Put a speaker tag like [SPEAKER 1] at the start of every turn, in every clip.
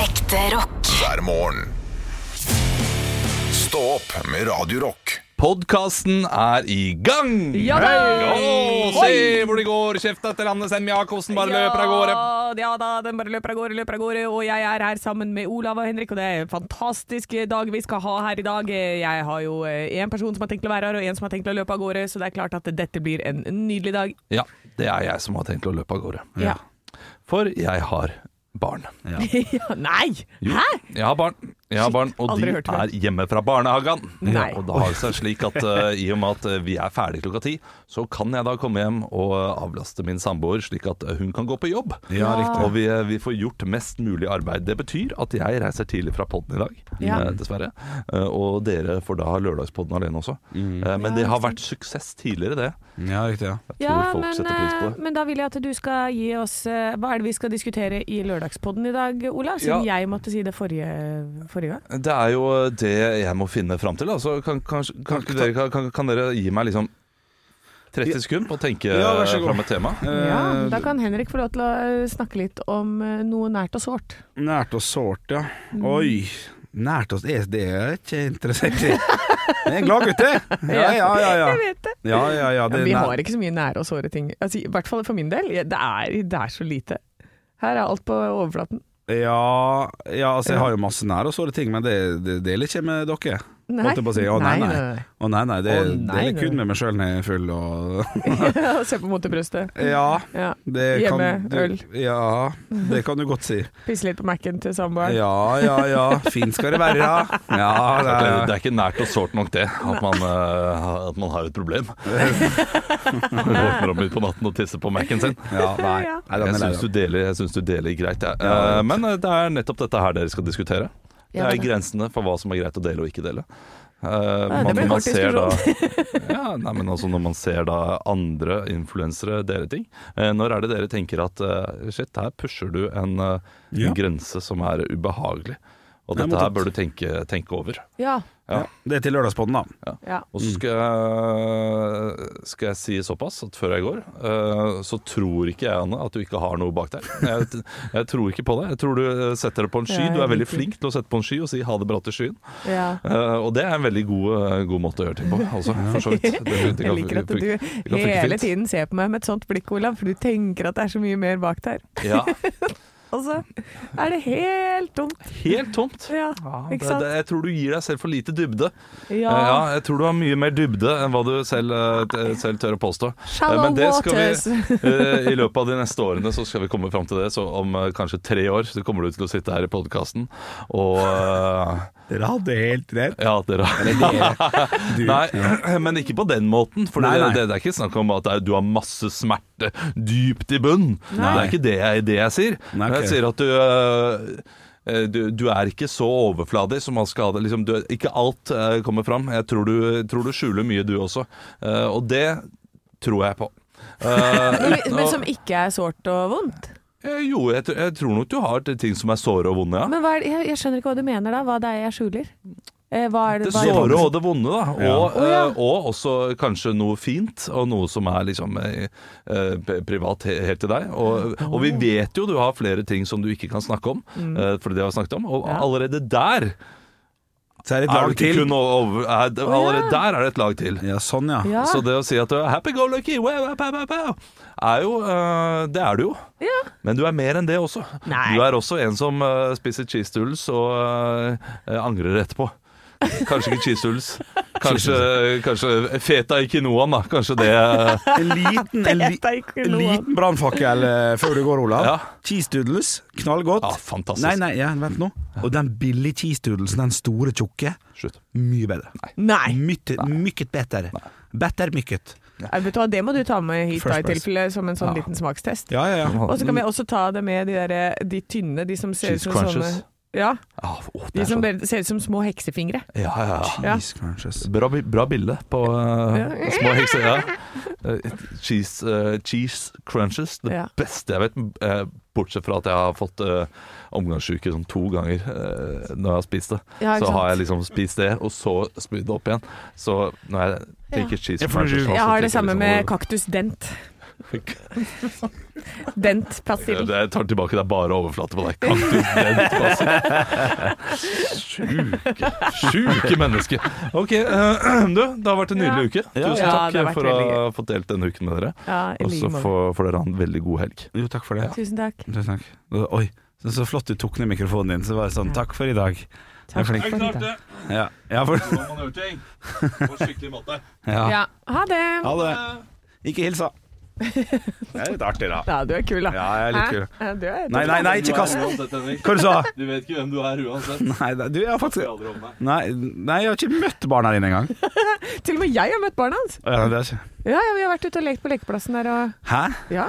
[SPEAKER 1] Ekte rock.
[SPEAKER 2] hver morgen. Stå opp med Radio Rock.
[SPEAKER 3] Podkasten er i gang!
[SPEAKER 4] Ja da!
[SPEAKER 3] Å, se hvor det går! Kjeft etter Anne Sem Jacobsen, bare løper av gårde.
[SPEAKER 4] Ja da, den bare løper av gårde, løper av gårde. Og jeg er her sammen med Olav og Henrik, og det er en fantastisk eh, dag vi skal ha her i dag. Eh, Jeg har jo én person som har tenkt til å være her, og én som har tenkt til å løpe av gårde, så det er klart at dette blir en nydelig dag.
[SPEAKER 3] Ja, det er jeg som har tenkt å løpe av gårde.
[SPEAKER 4] Ja.
[SPEAKER 3] For jeg har barn.
[SPEAKER 4] Ja, Nei! Hæ?
[SPEAKER 3] Jeg har barn, jeg har barn og
[SPEAKER 4] aldri
[SPEAKER 3] de
[SPEAKER 4] hørt før.
[SPEAKER 3] er hjemme fra barnehagen.
[SPEAKER 4] Nei.
[SPEAKER 3] Og da har det seg slik at eh, i og med at eh, vi er ferdig klokka ti, så kan jeg da komme hjem og eh, avlaste min samboer, slik at eh, hun kan gå på jobb.
[SPEAKER 2] Ja,
[SPEAKER 3] Og vi, eh, vi får gjort mest mulig arbeid. Det betyr at jeg reiser tidlig fra podden i dag,
[SPEAKER 4] Ja.
[SPEAKER 3] eh, dessverre. Eh, Og dere får da lørdagspodden alene også. Eh, Men det har vært suksess tidligere, det.
[SPEAKER 5] Mm. Ja, riktig. Ja.
[SPEAKER 3] Jeg tror folk setter pris på det.
[SPEAKER 4] eh, men da vil jeg at du skal gi oss eh, Hva er det vi skal diskutere i lørdagspodden i dag, Olav? Siden
[SPEAKER 3] Ja.
[SPEAKER 4] jeg måtte si det forrige, forrige gang.
[SPEAKER 3] Det er jo det jeg må finne fram til. Altså, kan, kanskje- kan, ikke dere, kan, kan dere gi meg liksom 30 sekunder på å tenke
[SPEAKER 5] Ja, vær så god.
[SPEAKER 3] fram et tema?
[SPEAKER 4] Ja,
[SPEAKER 5] Eh,
[SPEAKER 4] da kan Henrik få lov til å eh, snakke litt om eh, noe nært og sårt.
[SPEAKER 5] Nært og sårt, ja.
[SPEAKER 4] Mm.
[SPEAKER 5] Oi. Nært og sårt Det er jeg ikke interessert i. Det er en gladgutt, det. Ja, ja, ja. ja.
[SPEAKER 4] Jeg vet det.
[SPEAKER 5] Ja, ja, ja,
[SPEAKER 4] Ja,
[SPEAKER 5] det
[SPEAKER 4] vi
[SPEAKER 5] er
[SPEAKER 4] har ikke så mye nære og såre ting. Altså, I hvert fall for min del. Ja, Det er, det er så lite. Her er alt på overflaten.
[SPEAKER 5] nær- ja, ja, altså jeg har jo masse nære og såre ting, men det, det deler ikke med dere. Holdt jeg på å si. Å, nei, nei. Å nei, nei, det
[SPEAKER 4] Å, nei,
[SPEAKER 5] deler
[SPEAKER 4] nei.
[SPEAKER 5] kun med meg sjøl når jeg er full og
[SPEAKER 4] nei. Se på motebrøstet.
[SPEAKER 5] Ja.
[SPEAKER 4] Ja.
[SPEAKER 5] Det
[SPEAKER 4] Hjemme,
[SPEAKER 5] kan du,
[SPEAKER 4] øl.
[SPEAKER 5] Ja, det kan du godt si.
[SPEAKER 4] Pisse litt på Mac-en til samboeren.
[SPEAKER 5] Ja, ja, ja. Fint skal det være. Ja,
[SPEAKER 3] Det,
[SPEAKER 5] ja, ja.
[SPEAKER 3] det er ikke nært og sårt nok det, at man, eh, at man har et problem. Våkner opp midt på natten og tisser på Mac-en sin.
[SPEAKER 5] Ja, nei. nei den
[SPEAKER 3] Jeg
[SPEAKER 5] er lei
[SPEAKER 3] syns du,
[SPEAKER 5] av.
[SPEAKER 3] deler- jeg syns du deler greit, jeg.
[SPEAKER 5] Ja,
[SPEAKER 3] Eh, Men eh, det er nettopp dette her dere skal diskutere. Det
[SPEAKER 4] Ja,
[SPEAKER 3] er
[SPEAKER 4] det.
[SPEAKER 3] grensene for hva som er greit å dele og ikke dele. Eh,
[SPEAKER 4] det blir en kort
[SPEAKER 3] da, ja, nei, men altså Når man ser da andre influensere dele ting eh, Når er det dere tenker at eh, shit, her pusher du en, eh,
[SPEAKER 5] Ja.
[SPEAKER 3] grense som er ubehagelig? Og
[SPEAKER 5] Nei,
[SPEAKER 3] dette her
[SPEAKER 5] motsatt.
[SPEAKER 3] bør du tenke, tenke over.
[SPEAKER 4] Ja.
[SPEAKER 5] Ja, det er til Lørdagspodden, da.
[SPEAKER 4] ja.
[SPEAKER 3] Og så skal, jeg- skal jeg si såpass at før jeg går, eh, så tror ikke jeg, Anne, at du ikke har noe bak der. Jeg, jeg tror ikke på det. Jeg tror du eh, setter det på en sky.
[SPEAKER 4] Ja,
[SPEAKER 3] Du er
[SPEAKER 4] jeg
[SPEAKER 3] veldig
[SPEAKER 4] liker.
[SPEAKER 3] flink til å sette på en sky og si ha det bra til skyen.
[SPEAKER 4] ja.
[SPEAKER 3] Eh, Og det er en veldig god, eh, god måte å gjøre ting på, altså. For så vidt. Det- det kan-
[SPEAKER 4] Jeg liker at
[SPEAKER 3] det
[SPEAKER 4] du
[SPEAKER 3] kan funke
[SPEAKER 4] hele
[SPEAKER 3] fint.
[SPEAKER 4] tiden ser på meg med et sånt blikk, Olav, for du tenker at det er så mye mer bak der.
[SPEAKER 3] Ja.
[SPEAKER 4] Og så er det helt dumt.
[SPEAKER 3] Helt tomt.
[SPEAKER 4] Ja,
[SPEAKER 3] Det,
[SPEAKER 4] ikke sant?
[SPEAKER 3] det, jeg tror du gir deg selv for lite dybde. Eh,
[SPEAKER 4] Ja.
[SPEAKER 3] Ja, jeg tror du har mye mer dybde enn hva du selv, eh, t- selv tør å påstå. Eh,
[SPEAKER 4] Shallow
[SPEAKER 3] Men det skal
[SPEAKER 4] waters.
[SPEAKER 3] vi, eh, I løpet av de neste årene så skal vi komme fram til det. Så om eh, kanskje tre år så kommer du til å sitte her i podkasten og eh,
[SPEAKER 5] Dere hadde helt rett.
[SPEAKER 3] Ja, dere
[SPEAKER 5] Du.
[SPEAKER 3] Nei, men ikke på den måten. For
[SPEAKER 5] Nei, nei.
[SPEAKER 3] Det, det er ikke snakk om at det er- du har masse smerte dypt i bunnen. Det
[SPEAKER 5] Nei.
[SPEAKER 3] er ikke det jeg, det jeg sier.
[SPEAKER 5] Nei, ok.
[SPEAKER 3] Jeg sier at du øh, øh, du, du er ikke så overfladig som man skal ha det. Liksom, du, ikke alt øh, kommer fram. Jeg tror du, tror du skjuler mye, du også. Eh, og det tror jeg på. Eh,
[SPEAKER 4] Men,
[SPEAKER 3] uten
[SPEAKER 4] men
[SPEAKER 3] å-
[SPEAKER 4] som ikke er sårt og vondt.
[SPEAKER 3] Eh, jo, jeg, tr- jeg tror nok du har ting som er såre og vonde, ja.
[SPEAKER 4] Men hva er det, jeg, jeg skjønner ikke hva du mener da, hva det er jeg skjuler. Eh, hva er det,
[SPEAKER 3] Det
[SPEAKER 4] hva er
[SPEAKER 3] såre og det vonde, da. Og,
[SPEAKER 5] Ja.
[SPEAKER 4] Å, ja.
[SPEAKER 3] eh, og også kanskje noe fint, og noe som er liksom eh, eh, p- privat he- helt til deg. Og, og vi vet jo du har flere ting som du ikke kan snakke om, eh, for det har vi snakket om. Og
[SPEAKER 4] Mm. Ja.
[SPEAKER 3] allerede der
[SPEAKER 5] Så er det et
[SPEAKER 3] er,
[SPEAKER 5] lag
[SPEAKER 3] du ikke
[SPEAKER 5] til.
[SPEAKER 3] kun over, er, allerede
[SPEAKER 4] ja.
[SPEAKER 3] der er det et lag til.
[SPEAKER 5] Ja, sånn ja.
[SPEAKER 4] Ja.
[SPEAKER 3] Så det å si at eh, du er happy go lucky, wow, wow, pow, pow, pow, er jo eh, Det er du jo.
[SPEAKER 4] Ja.
[SPEAKER 3] Men du er mer enn det også.
[SPEAKER 4] Nei.
[SPEAKER 3] Du er også en som eh, spiser cheese doodles og eh, eh, angrer etterpå. Kanskje ikke cheese doodles. Kanskje, kanskje feta i quinoaen, da. Kanskje det eh,
[SPEAKER 5] En liten, en li
[SPEAKER 4] Dette er ikke
[SPEAKER 5] en
[SPEAKER 4] noe
[SPEAKER 5] liten brannfakkel eh, før du går, Olav.
[SPEAKER 3] Ja.
[SPEAKER 5] Cheese doodles, knallgodt.
[SPEAKER 3] Ja, Ah, fantastisk.
[SPEAKER 5] Nei, nei, ja, vent nå. Og den billige cheese doodlesen, den store, tjukke,
[SPEAKER 3] Slutt.
[SPEAKER 5] mye bedre.
[SPEAKER 4] Nei,
[SPEAKER 5] Mycket, mycket bedre. Better mycket.
[SPEAKER 4] Eh, vet du hva, det må du ta med hit
[SPEAKER 5] First
[SPEAKER 4] da, i
[SPEAKER 5] price.
[SPEAKER 4] tilfelle som en sånn liten smakstest.
[SPEAKER 5] Ja, ja, ja.
[SPEAKER 4] Og så kan vi også ta det med de, der, eh, de tynne, de som ser ut
[SPEAKER 3] Cheese
[SPEAKER 4] som
[SPEAKER 3] crunches.
[SPEAKER 4] sånne Ja,
[SPEAKER 3] Ah, åh, det
[SPEAKER 4] de
[SPEAKER 3] er
[SPEAKER 4] som
[SPEAKER 3] sånn.
[SPEAKER 4] bare ser ut som små heksefingre.
[SPEAKER 3] Ja, ja, ja.
[SPEAKER 4] Ja.
[SPEAKER 5] Cheese crunches.
[SPEAKER 3] Bra, bi- bra bilde på eh, små hekser. Ja. Eh, cheese, eh, cheese crunches, det
[SPEAKER 4] Ja.
[SPEAKER 3] beste jeg vet. eh, bortsett fra at jeg har fått uh, omgangssyke sånn to ganger eh, når jeg har spist det.
[SPEAKER 4] Ja, ikke
[SPEAKER 3] så har
[SPEAKER 4] sant?
[SPEAKER 3] jeg liksom spist det, og så spydd det opp igjen. Så når jeg tenker cheese
[SPEAKER 5] Ja, for når
[SPEAKER 3] crunches
[SPEAKER 5] du-
[SPEAKER 3] nå, så
[SPEAKER 4] Jeg har det
[SPEAKER 3] tenker jeg
[SPEAKER 4] samme
[SPEAKER 3] liksom,
[SPEAKER 4] med
[SPEAKER 3] hvor-
[SPEAKER 4] kaktus dent.
[SPEAKER 3] Fikk.
[SPEAKER 4] Dent pastillen.
[SPEAKER 3] Jeg tar tilbake, det er bare overflate på deg. Kaktus, dent, basil. Sjuke, sjuke menneske. Ok, eh, du, det har vært en nydelig uke.
[SPEAKER 4] Ja,
[SPEAKER 3] Tusen
[SPEAKER 4] ja, det har
[SPEAKER 3] takk
[SPEAKER 4] vært
[SPEAKER 3] for å
[SPEAKER 4] veldig
[SPEAKER 3] ha fått delt denne uken med dere.
[SPEAKER 4] Ja, i
[SPEAKER 3] Og så
[SPEAKER 4] like måte.
[SPEAKER 3] får får dere ha en veldig god helg.
[SPEAKER 5] Jo, takk for det.
[SPEAKER 4] Tusen takk.
[SPEAKER 5] Tusen takk. Oi, så, så flott du tok ned mikrofonen din. Så var det sånn, takk for i dag. er
[SPEAKER 4] Takk for
[SPEAKER 5] flink.
[SPEAKER 4] i dag.
[SPEAKER 5] Ja, ja, for, ja.
[SPEAKER 4] Ja. Ha det.
[SPEAKER 5] Ha det. Ikke hilsa. Det er litt artig, da.
[SPEAKER 4] Ja, du er kul, da.
[SPEAKER 5] Ja, jeg er litt
[SPEAKER 4] Hæ?
[SPEAKER 5] kul.
[SPEAKER 4] Ja, Du er
[SPEAKER 5] Nei, nei, nei, ikke kast Hva du sa
[SPEAKER 1] Du vet ikke hvem du er uansett.
[SPEAKER 5] Nei, nei, du, jeg har faktisk
[SPEAKER 1] Aldri om meg.
[SPEAKER 5] Nei, nei, jeg har ikke møtt barna dine engang.
[SPEAKER 4] Til og med jeg har møtt barna hans.
[SPEAKER 5] Ja, det er ikke-
[SPEAKER 4] Ja, ja, vi har vært ute og lekt på lekeplassen der og
[SPEAKER 5] Hæ?
[SPEAKER 4] Ja.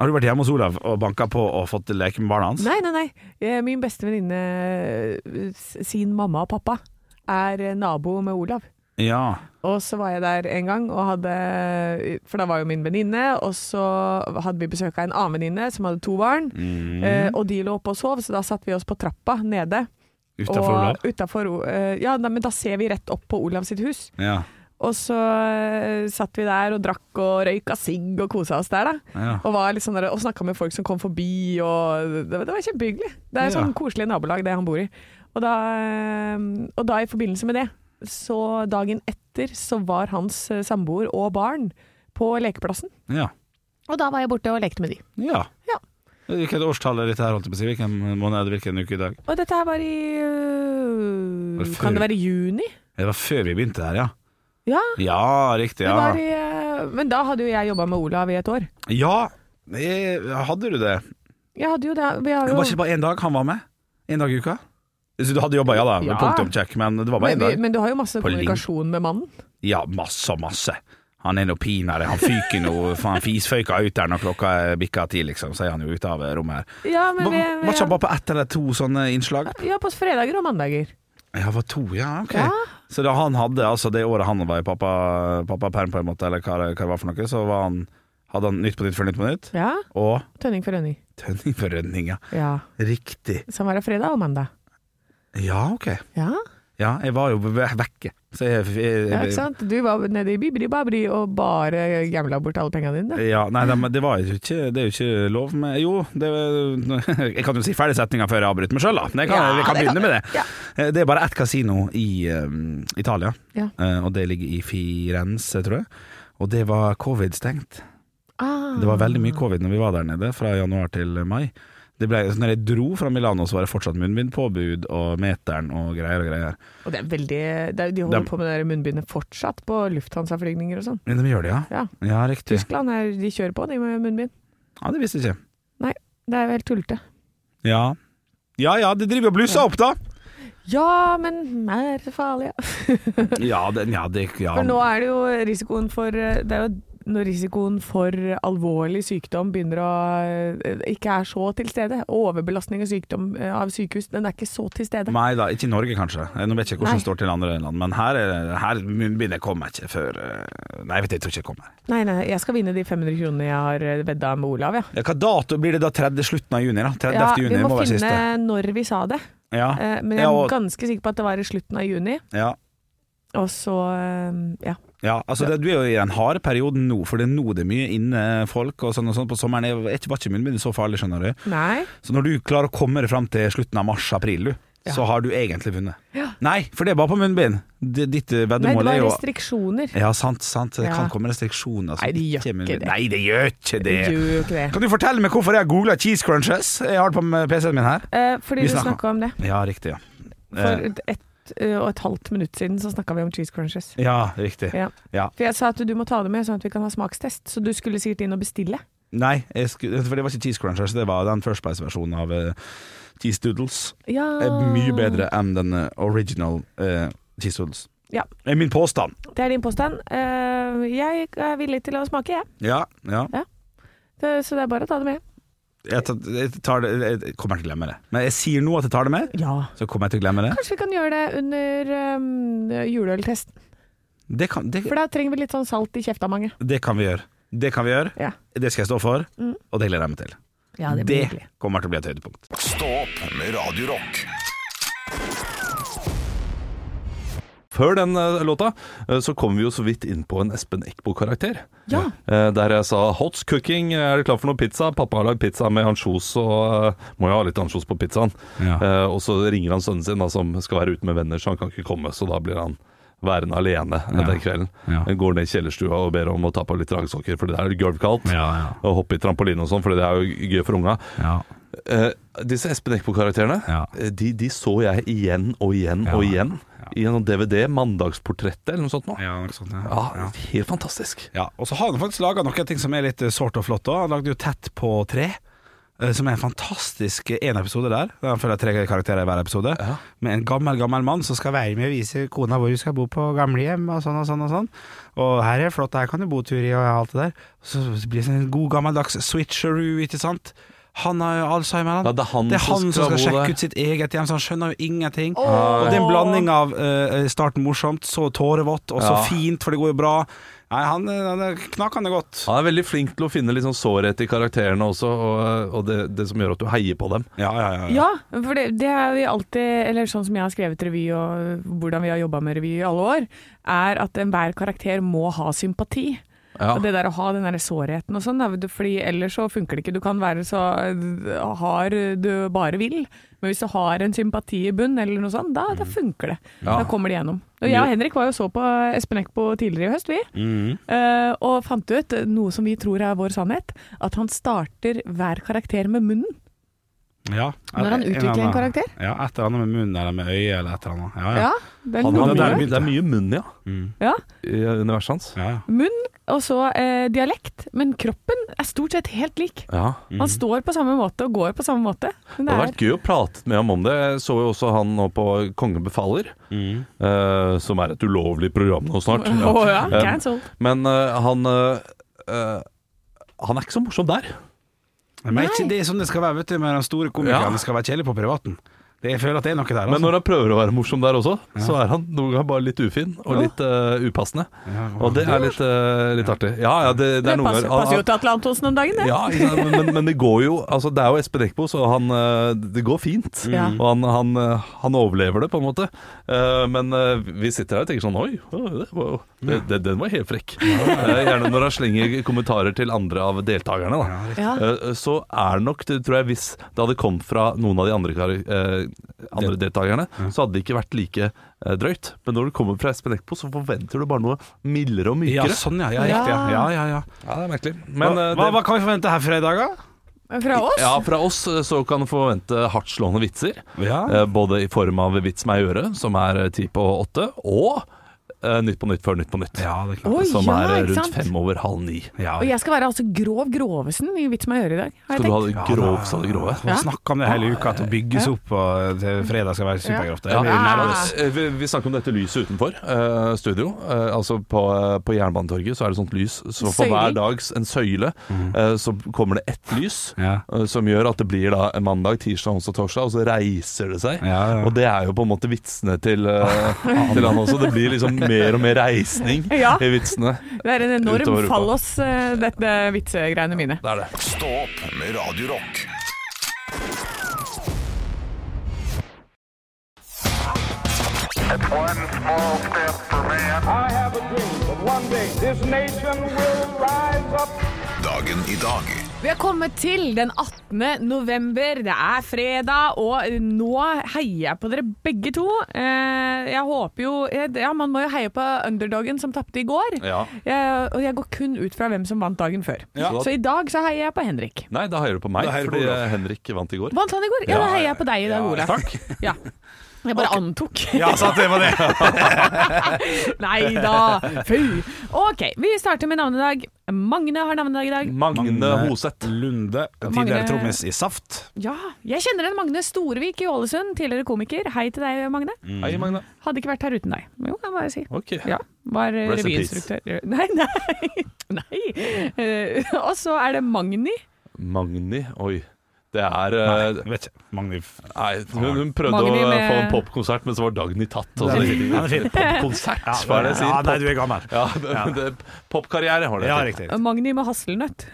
[SPEAKER 5] Har du vært hjemme hos Olav og banka på og fått leke med barna hans?
[SPEAKER 4] Nei, nei, nei. Eh, Min beste venninne eh, s- sin mamma og pappa er eh, nabo med Olav.
[SPEAKER 5] Ja.
[SPEAKER 4] Og så var jeg der en gang, og hadde, eh, for da var jo min venninne, og så hadde vi besøk av en annen venninne som hadde to barn, eh, og de lå oppe og sov, så da satt vi oss på trappa nede.
[SPEAKER 5] Utafor Olav?
[SPEAKER 4] Og utenfor, eh, ja, nei, men da ser vi rett opp på Olav sitt hus.
[SPEAKER 5] Ja.
[SPEAKER 4] Og så eh, satt vi der og drakk og røyka sigg og kosa oss der, da.
[SPEAKER 5] ja.
[SPEAKER 4] Og, var litt sånn der, og snakka med folk som kom forbi, og det, var- det var kjempehyggelig. Det er
[SPEAKER 5] Ja.
[SPEAKER 4] sånn koselig nabolag, det han bor i. Og da, eh, og da i forbindelse med det, så dagen etter så var hans eh, samboer og barn på lekeplassen.
[SPEAKER 5] Ja.
[SPEAKER 4] Og da var jeg borte og lekte med de.
[SPEAKER 5] ja.
[SPEAKER 4] Ja.
[SPEAKER 5] Hvilket årstall er dette her, holdt jeg på å si? Hvilken måned, hvilken uke i dag?
[SPEAKER 4] Og dette her var i øh,
[SPEAKER 5] Var det før?
[SPEAKER 4] Kan det være juni?
[SPEAKER 5] Det var før vi begynte her, ja.
[SPEAKER 4] Ja,
[SPEAKER 5] Ja, riktig.
[SPEAKER 4] det var
[SPEAKER 5] Ja.
[SPEAKER 4] i øh, Men da hadde jo jeg jobba med Olav i et år.
[SPEAKER 5] ja. det- Hadde du det?
[SPEAKER 4] Jeg hadde jo det. Vi har
[SPEAKER 5] Det
[SPEAKER 4] jo
[SPEAKER 5] var ikke bare én dag han var med? Én dag i uka? Så du hadde jobba, ja da,
[SPEAKER 4] Ja.
[SPEAKER 5] punktum check, men det var bare
[SPEAKER 4] men,
[SPEAKER 5] én
[SPEAKER 4] vi,
[SPEAKER 5] dag?
[SPEAKER 4] men du har jo masse
[SPEAKER 5] På link.
[SPEAKER 4] kommunikasjon med mannen.
[SPEAKER 5] Ja, masse, masse. Han er noe pinadø, han fyker noe faen fisføyka ut der når klokka er bikka ti, liksom, så er han jo ute av rommet her.
[SPEAKER 4] Ja, men
[SPEAKER 5] Var,
[SPEAKER 4] vi,
[SPEAKER 5] var ikke han bare på ett eller to sånne innslag?
[SPEAKER 4] ja, på fredager og mandager.
[SPEAKER 5] Ja, var to, ja, ok.
[SPEAKER 4] Ja.
[SPEAKER 5] Så da han hadde, altså det året han var i pappa- pappaperm, på en måte, eller hva, det- hva det var for noe, så var han, hadde han Nytt på Nytt før Nytt på Nytt,
[SPEAKER 4] Ja,
[SPEAKER 5] og
[SPEAKER 4] Tønning for Rønning.
[SPEAKER 5] Tønning for Rønning, ja.
[SPEAKER 4] Ja,
[SPEAKER 5] Riktig.
[SPEAKER 4] Som var det fredag og mandag.
[SPEAKER 5] Ja, ok.
[SPEAKER 4] Ja,
[SPEAKER 5] Ja, jeg var jo ve- vekke. Så jeg, jeg,
[SPEAKER 4] ja ikke sant? Du var nede i Bibri Babri og bare gamla bort alle pengene dine. da.
[SPEAKER 5] Ja, nei, det, det var jo ikke Det er jo ikke lov med Jo, det, jeg kan jo si ferdig setninga før jeg avbryter meg sjøl, da. Men jeg kan,
[SPEAKER 4] Ja,
[SPEAKER 5] jeg kan
[SPEAKER 4] det kan
[SPEAKER 5] begynne med det.
[SPEAKER 4] du. Ja.
[SPEAKER 5] Eh, Det er bare ett kasino i eh, Italia,
[SPEAKER 4] Ja.
[SPEAKER 5] Eh, og det ligger i Firenze, tror jeg. Og det var covid-stengt.
[SPEAKER 4] Ah.
[SPEAKER 5] Det var veldig mye covid når vi var der nede, fra januar til mai. Det ble, så når jeg dro fra Milano, så var det fortsatt munnbindpåbud og meteren og greier og greier.
[SPEAKER 4] Og det er veldig det er, De holder
[SPEAKER 5] Dem-
[SPEAKER 4] på med det der munnbindet fortsatt på lufthansa-flygninger og sånn.
[SPEAKER 5] Men de gjør det, ja?
[SPEAKER 4] Ja.
[SPEAKER 5] Ja, riktig.
[SPEAKER 4] Tyskland er, de kjører på, de med munnbind.
[SPEAKER 5] Ja, det visste jeg ikke.
[SPEAKER 4] Det er jo helt tullete.
[SPEAKER 5] Ja. Ja ja, det driver og blusser opp, da!
[SPEAKER 4] Ja, men mer farlig. ja.
[SPEAKER 5] Ja, det, ja, det ja.
[SPEAKER 4] For nå er det jo risikoen for Det er jo når risikoen for alvorlig sykdom begynner å eh, ikke er så til stede. Overbelastning av sykdom eh, av sykehus, den er ikke så til stede.
[SPEAKER 5] Nei da, ikke i Norge kanskje. Eh, Nå vet jeg ikke
[SPEAKER 4] Nei.
[SPEAKER 5] hvordan det står til i andre land, men her, er- her munnbindet kommer ikke før eh, Nei, jeg vet jeg tror ikke det kommer.
[SPEAKER 4] Nei, nei, jeg skal vinne de 500 kronene jeg har eh, vedda med Olav, ja.
[SPEAKER 5] Ja, hva dato blir det da? 30. slutten av juni? da? 30.
[SPEAKER 4] ja
[SPEAKER 5] juni
[SPEAKER 4] vi må,
[SPEAKER 5] være
[SPEAKER 4] finne
[SPEAKER 5] siste.
[SPEAKER 4] når vi sa det,
[SPEAKER 5] Ja,
[SPEAKER 4] eh, men jeg
[SPEAKER 5] Ja, og-
[SPEAKER 4] er ganske sikker på at det var i slutten av juni.
[SPEAKER 5] ja.
[SPEAKER 4] Og så eh, ja.
[SPEAKER 5] Ja, altså det, Du er jo i den harde perioden nå, for det er nå det er mye inne folk og sånn og sånn. På sommeren er er ikke- var ikke munnbindet så farlig, skjønner du.
[SPEAKER 4] Nei.
[SPEAKER 5] Så når du klarer å komme deg fram til slutten av mars-april, du,
[SPEAKER 4] Ja.
[SPEAKER 5] så har du egentlig vunnet. Nei, for det er bare på munnbind. Det- Ditt eh,
[SPEAKER 4] nei, det
[SPEAKER 5] veddemål er
[SPEAKER 4] var
[SPEAKER 5] jo
[SPEAKER 4] restriksjoner.
[SPEAKER 5] Ja, sant, sant. Det
[SPEAKER 4] Ja.
[SPEAKER 5] kan komme restriksjoner. som
[SPEAKER 4] Nei, det gjør
[SPEAKER 5] er munnbind.
[SPEAKER 4] ikke det.
[SPEAKER 5] Nei, det gjør ikke
[SPEAKER 4] Det
[SPEAKER 5] det.
[SPEAKER 4] gjør jo ikke det.
[SPEAKER 5] Kan du fortelle meg hvorfor jeg har googla cheese crunches? Jeg har det på eh, PC-en min her.
[SPEAKER 4] Eh, fordi
[SPEAKER 5] Vi
[SPEAKER 4] du
[SPEAKER 5] snakket-
[SPEAKER 4] snakka om det.
[SPEAKER 5] Ja, riktig. ja
[SPEAKER 4] For
[SPEAKER 5] Eh,
[SPEAKER 4] et, et eh, og et halvt minutt siden så snakka vi om cheese crunches.
[SPEAKER 5] Ja, riktig.
[SPEAKER 4] Ja.
[SPEAKER 5] Ja.
[SPEAKER 4] For jeg sa at du må ta det med, sånn at vi kan ha smakstest. Så du skulle sikkert inn og bestille.
[SPEAKER 5] Nei, jeg skulle, for det var ikke cheese crunchers, det var den First Spice-versjonen av eh, cheese doodles.
[SPEAKER 4] Ja.
[SPEAKER 5] er
[SPEAKER 4] Ah.
[SPEAKER 5] mye bedre enn den eh, original eh, cheese doodles.
[SPEAKER 4] Ja.
[SPEAKER 5] Er min påstand.
[SPEAKER 4] Det er din påstand. Eh, jeg er villig til å smake, jeg.
[SPEAKER 5] Ja, ja.
[SPEAKER 4] Det, så det er bare å ta det med.
[SPEAKER 5] Jeg, tar, jeg, tar det, jeg kommer til å glemme det. Men jeg sier nå at jeg tar det med,
[SPEAKER 4] Ja.
[SPEAKER 5] så kommer jeg til å glemme det.
[SPEAKER 4] Kanskje vi kan gjøre det under um, juleøltesten.
[SPEAKER 5] Det kan, det,
[SPEAKER 4] For da trenger vi litt sånn salt i kjefta mange.
[SPEAKER 5] det kan vi gjøre. Det kan vi gjøre.
[SPEAKER 4] Ja.
[SPEAKER 5] Det skal jeg stå for,
[SPEAKER 4] Mm.
[SPEAKER 5] og det gleder jeg meg til.
[SPEAKER 4] Ja,
[SPEAKER 5] det kommer til å bli et høydepunkt.
[SPEAKER 2] Stå opp med Radio Rock.
[SPEAKER 3] før den eh, låta eh, så kom vi jo så vidt inn på en Espen Eckbo-karakter.
[SPEAKER 4] Ja.
[SPEAKER 3] Eh, Der jeg sa 'Hots cooking, er det klar for noe pizza?' Pappa har lagd pizza med ansjos, og eh, må jo ha litt ansjos på pizzaen.
[SPEAKER 5] Ja.
[SPEAKER 3] Eh, Og så ringer han sønnen sin, da, som skal være ute med venner, så han kan ikke komme. Så da blir han værende alene eh,
[SPEAKER 5] Ja.
[SPEAKER 3] den kvelden.
[SPEAKER 5] Ja.
[SPEAKER 3] Går ned i kjellerstua og ber om å ta på litt raggsokker, for det er gulvkaldt.
[SPEAKER 5] Ja, ja.
[SPEAKER 3] Og hoppe i trampoline og sånn, for det er jo gøy for unga.
[SPEAKER 5] Ja.
[SPEAKER 3] Eh, disse Espen Eckbo-karakterene
[SPEAKER 5] Ja.
[SPEAKER 3] eh, de, de så jeg igjen og igjen og
[SPEAKER 5] Ja.
[SPEAKER 3] igjen i en sånn DVD, 'Mandagsportrettet' eller noe sånt. Nå.
[SPEAKER 5] Ja, noe sånt, ja.
[SPEAKER 3] Ja,
[SPEAKER 5] Ja.
[SPEAKER 3] Helt fantastisk.
[SPEAKER 5] Ja, og så har han faktisk laga noen ting som er litt eh, sårt og flott òg. Han lagde jo Tett på tre, eh, som er en fantastisk én episode der. Der han følger tre karakterer i hver episode.
[SPEAKER 3] Ja.
[SPEAKER 5] Med en gammel, gammel mann som skal være med og vise kona hvor hun skal bo på gamlehjem, og sånn og sånn og sånn. Og her er det flott, her kan du bo tur i, og alt det der. Så blir det en god, gammeldags switcheroo, ikke sant. Han har jo alzheimer, han.
[SPEAKER 3] Ja, det er han
[SPEAKER 5] det er han som
[SPEAKER 3] bo
[SPEAKER 5] skal,
[SPEAKER 3] der.
[SPEAKER 5] sjekke ut sitt eget hjem, så han skjønner jo ingenting.
[SPEAKER 4] Åh.
[SPEAKER 5] Og det er en blanding av eh, starten morsomt, så tårevått, og så
[SPEAKER 3] Ja.
[SPEAKER 5] fint, for det går jo bra. Nei, han, eh, han er knakende godt.
[SPEAKER 3] Han er veldig flink til å finne litt sånn sårhet i karakterene også, og, og det, det som gjør at du heier på dem.
[SPEAKER 5] Ja, ja, ja.
[SPEAKER 4] Ja, for det, det er vi alltid Eller sånn som jeg har skrevet revy, og hvordan vi har jobba med revy i alle år, er at enhver karakter må ha sympati.
[SPEAKER 3] Ja.
[SPEAKER 4] Og det der å ha den der sårheten og sånn, da, vet du, fordi ellers så funker det ikke. Du kan være så øh, hard du bare vil, men hvis du har en sympati i bunn eller noe sånt, da, da funker det.
[SPEAKER 3] Ja.
[SPEAKER 4] Da kommer det gjennom. Og jeg og Henrik var jo så på Espen Eckbo tidligere i høst, vi.
[SPEAKER 5] Mm.
[SPEAKER 4] øh, og fant ut noe som vi tror er vår sannhet, at han starter hver karakter med munnen.
[SPEAKER 5] Ja.
[SPEAKER 4] Når han
[SPEAKER 5] En eller
[SPEAKER 4] utvikler en
[SPEAKER 5] annen-
[SPEAKER 4] karakter?
[SPEAKER 5] Ja, et eller annet med munnen eller med øyet eller et eller annet. Ja, ja.
[SPEAKER 4] Ja, det er
[SPEAKER 3] Han
[SPEAKER 4] noe
[SPEAKER 3] har
[SPEAKER 5] det der
[SPEAKER 4] med det.
[SPEAKER 3] mye,
[SPEAKER 5] begynte.
[SPEAKER 3] det er mye munn, ja,
[SPEAKER 5] Mm.
[SPEAKER 4] Ja.
[SPEAKER 3] i universet hans.
[SPEAKER 5] ja, ja.
[SPEAKER 4] Munn og så eh, dialekt, men kroppen er stort sett helt lik.
[SPEAKER 3] Ja.
[SPEAKER 4] Han står på samme måte og går på samme måte.
[SPEAKER 3] Mhm. Det
[SPEAKER 4] Men det
[SPEAKER 3] hadde
[SPEAKER 4] er,
[SPEAKER 3] vært gøy å prate med ham om det. Jeg så jo også han nå på Kongen befaler,
[SPEAKER 5] Mm.
[SPEAKER 3] eh, som er et ulovlig program nå snart.
[SPEAKER 4] Å ja,
[SPEAKER 3] Eh,
[SPEAKER 4] cancelled.
[SPEAKER 3] Men eh, han eh, eh, Han er ikke så morsom der.
[SPEAKER 5] Men ikke det er sånn det skal være, vet du, med de store komikerne.
[SPEAKER 3] Ja.
[SPEAKER 5] Det skal være kjedelig på privaten. Det, jeg føler at det er noe der,
[SPEAKER 3] Men
[SPEAKER 5] altså.
[SPEAKER 3] når han prøver å være morsom der også, så er han noen ganger bare litt ufin og
[SPEAKER 4] Ja.
[SPEAKER 3] litt eh, upassende.
[SPEAKER 5] Ja,
[SPEAKER 3] Og det er litt, eh, litt artig. Ja, ja, det, det
[SPEAKER 4] Det
[SPEAKER 3] er noen
[SPEAKER 4] passer,
[SPEAKER 3] ganger han-
[SPEAKER 4] passer jo til Atlantosen om dagen, det.
[SPEAKER 3] Ja, ikke sant, men, men, men det går jo altså Det er jo Espen Eckbo, så han, eh, det går fint.
[SPEAKER 4] Ja.
[SPEAKER 3] Og han, han, eh, han overlever det, på en måte. Eh, Men eh, vi sitter her og tenker sånn Oi, å, det var, jo- det, det, den var helt frekk. Eh, Gjerne når han slenger kommentarer til andre av deltakerne.
[SPEAKER 5] Ja,
[SPEAKER 3] Da.
[SPEAKER 5] riktig.
[SPEAKER 4] Ja.
[SPEAKER 3] Eh, Så er det nok, det tror jeg, hvis det hadde kommet fra noen av de andre, kar- eh, andre deltakerne, så hadde det ikke vært like eh, drøyt. Men når det kommer fra Espen Eckbo, så forventer du bare noe mildere og
[SPEAKER 5] ja,
[SPEAKER 3] mykere.
[SPEAKER 5] sånn ja. Ja, riktig. Ja, ja, ja. ja.
[SPEAKER 3] Ja, det er merkelig. Men,
[SPEAKER 5] hva,
[SPEAKER 3] eh,
[SPEAKER 5] hva,
[SPEAKER 3] det-
[SPEAKER 5] hva kan vi forvente her fra i dag, da?
[SPEAKER 4] Fra oss?
[SPEAKER 3] Ja, fra oss eh, så kan du forvente hardtslående vitser.
[SPEAKER 5] Ja.
[SPEAKER 3] Eh, Både i form av Vits meg i øret, som er eh, ti på åtte, og eh, Nytt på nytt før Nytt på nytt.
[SPEAKER 5] ja, det er klart.
[SPEAKER 4] Oi,
[SPEAKER 3] som
[SPEAKER 4] ja,
[SPEAKER 3] er eh,
[SPEAKER 4] ikke sant?
[SPEAKER 3] rundt fem over halv ni.
[SPEAKER 5] Ja,
[SPEAKER 4] Og jeg skal være altså grov Grovesen i Vits meg i øret i dag, har
[SPEAKER 3] Skal
[SPEAKER 4] jeg
[SPEAKER 3] du ha
[SPEAKER 4] tenkt.
[SPEAKER 3] det grovt av det grove?
[SPEAKER 5] Vi har snakka om det hele uka, at å bygges opp og til fredag skal være supergrovt. Det
[SPEAKER 3] Ja,
[SPEAKER 5] blir
[SPEAKER 4] Ja.
[SPEAKER 5] nervøs.
[SPEAKER 3] eh, vi, vi snakker om dette lyset utenfor eh, studio. Eh, altså på, eh, på Jernbanetorget så er det sånt lys. Så for
[SPEAKER 4] Søyle.
[SPEAKER 3] hver dags en søyle, eh, så kommer det ett lys.
[SPEAKER 5] Mhm. Ja.
[SPEAKER 3] eh, Som gjør at det blir da en mandag, tirsdag, onsdag, torsdag, og så reiser det seg.
[SPEAKER 5] Ja, ja.
[SPEAKER 3] Og det er jo på en måte vitsene til, eh, til han også. Det blir liksom mer og mer reisning
[SPEAKER 4] Ja.
[SPEAKER 3] i vitsene.
[SPEAKER 4] Det er en enorm
[SPEAKER 3] Utover uka.
[SPEAKER 4] fallos, eh, dette vitsegreiene mine.
[SPEAKER 3] Det er det.
[SPEAKER 2] Stå opp med Radio Rock.
[SPEAKER 1] One small step for man. I have a dream that one day this nation will rise up.
[SPEAKER 2] Dagen i dag
[SPEAKER 4] Vi har kommet til den 18. november. Det er fredag, og nå heier jeg på dere begge to. Eh, Jeg håper jo Ja, man må jo heie på underdogen som tapte i går.
[SPEAKER 3] Ja.
[SPEAKER 4] Jeg, og jeg går kun ut fra hvem som vant dagen før. Så i dag så heier jeg på Henrik.
[SPEAKER 3] Nei, da heier du på meg,
[SPEAKER 5] Da heier du på
[SPEAKER 3] fordi
[SPEAKER 5] Olav.
[SPEAKER 3] eh, Henrik vant i går.
[SPEAKER 4] Vant han i går? Ja, da heier jeg på deg i dag, Ola. Ja. Jeg bare antok.
[SPEAKER 5] Ja, sant det var det.
[SPEAKER 4] Nei da, fy. OK, vi starter med navnedag. Magne har navnedag i dag.
[SPEAKER 3] Magne Hoseth.
[SPEAKER 5] Lunde, tidligere trommis i Saft.
[SPEAKER 4] Ja, jeg kjenner en Magne Storvik i Ålesund, tidligere komiker. Hei til deg, Magne.
[SPEAKER 3] Hei, Magne.
[SPEAKER 4] Hadde ikke vært her uten deg. Jo, kan jeg bare si.
[SPEAKER 3] Ok.
[SPEAKER 4] Ja, var eh,
[SPEAKER 3] Rest in
[SPEAKER 4] revyinstruktør. Nei, nei. nei. Eh, og så er det Magni.
[SPEAKER 3] Magni, oi. Det er eh,
[SPEAKER 5] Jeg vet ikke. Magnif.
[SPEAKER 3] Nei, hun, hun prøvde
[SPEAKER 4] Magni
[SPEAKER 3] å eh,
[SPEAKER 4] med-
[SPEAKER 3] få en popkonsert, men så var Dagny tatt. Og så
[SPEAKER 5] Den er
[SPEAKER 3] gikk
[SPEAKER 5] fin.
[SPEAKER 3] det
[SPEAKER 5] Den er fin.
[SPEAKER 3] ikke. Konsert, hva er det jeg sier?
[SPEAKER 5] Ja, nei, du er gammel.
[SPEAKER 3] Pop- Ja, det, det, popkarriere har det.
[SPEAKER 5] Ja,
[SPEAKER 3] til.
[SPEAKER 5] riktig.
[SPEAKER 4] Magni med hasselnøtt.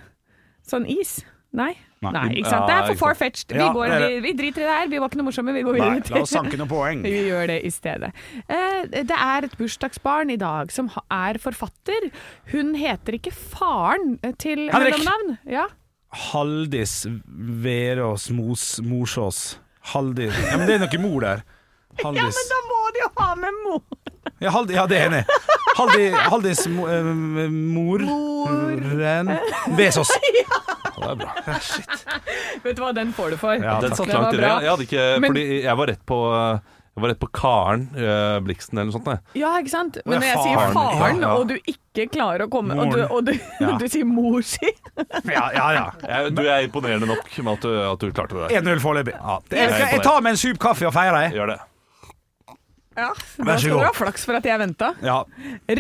[SPEAKER 4] Sånn is. Nei.
[SPEAKER 5] Nei.
[SPEAKER 4] Nei, ikke sant?
[SPEAKER 3] Ja,
[SPEAKER 4] Det er
[SPEAKER 3] ikke sant.
[SPEAKER 4] for far-fetched. Vi,
[SPEAKER 5] Ja,
[SPEAKER 4] går,
[SPEAKER 5] det er
[SPEAKER 4] vi,
[SPEAKER 5] det.
[SPEAKER 4] vi driter i det her, vi var ikke noe morsomme, vi går
[SPEAKER 5] Nei,
[SPEAKER 4] videre
[SPEAKER 5] la oss sanke noen poeng.
[SPEAKER 4] Vi gjør det i stedet. Eh, Det er et bursdagsbarn i dag som ha- er forfatter. Hun heter ikke faren eh, til
[SPEAKER 5] Henrik.
[SPEAKER 4] mellomnavn. Ja.
[SPEAKER 5] Haldis Verås Mos Morsås. Haldis Ja, men det er noe mor der.
[SPEAKER 4] ja, men
[SPEAKER 5] Haldis.
[SPEAKER 4] da må de jo ha med mor!
[SPEAKER 5] Ja, Hald, ja det er enig. Haldi, Haldis mo, eh, mor Moren Vesås.
[SPEAKER 3] det er bra.
[SPEAKER 4] Vet du hva, den får du for.
[SPEAKER 5] Ja,
[SPEAKER 3] Den
[SPEAKER 5] takk.
[SPEAKER 3] satt
[SPEAKER 4] Det var
[SPEAKER 3] langt inne.
[SPEAKER 4] bra.
[SPEAKER 3] Jeg, hadde ikke-
[SPEAKER 4] Men-
[SPEAKER 3] fordi jeg var rett på jeg var rett på Karen eh, Bliksen eller noe sånt. jeg.
[SPEAKER 4] Ja, ikke sant? Men
[SPEAKER 5] Å,
[SPEAKER 4] når
[SPEAKER 5] ja,
[SPEAKER 4] jeg sier
[SPEAKER 5] faren, ja,
[SPEAKER 4] faren,
[SPEAKER 5] ja.
[SPEAKER 4] og du ikke klarer å komme Og du,
[SPEAKER 5] Moren.
[SPEAKER 4] og du,
[SPEAKER 5] Ja.
[SPEAKER 4] du sier mor si
[SPEAKER 5] Ja, ja, ja.
[SPEAKER 3] Jeg, du er imponerende nok med at du, at du klarte det.
[SPEAKER 5] 1-0 foreløpig. Ja, det
[SPEAKER 3] Jeg
[SPEAKER 5] er-
[SPEAKER 3] er
[SPEAKER 5] jeg, jeg tar med en sup kaffe og feirer. jeg.
[SPEAKER 3] Gjør det.
[SPEAKER 4] ja, Da
[SPEAKER 5] Vær så
[SPEAKER 4] skal
[SPEAKER 5] god.
[SPEAKER 4] du ha flaks for at jeg venta.
[SPEAKER 5] Ja.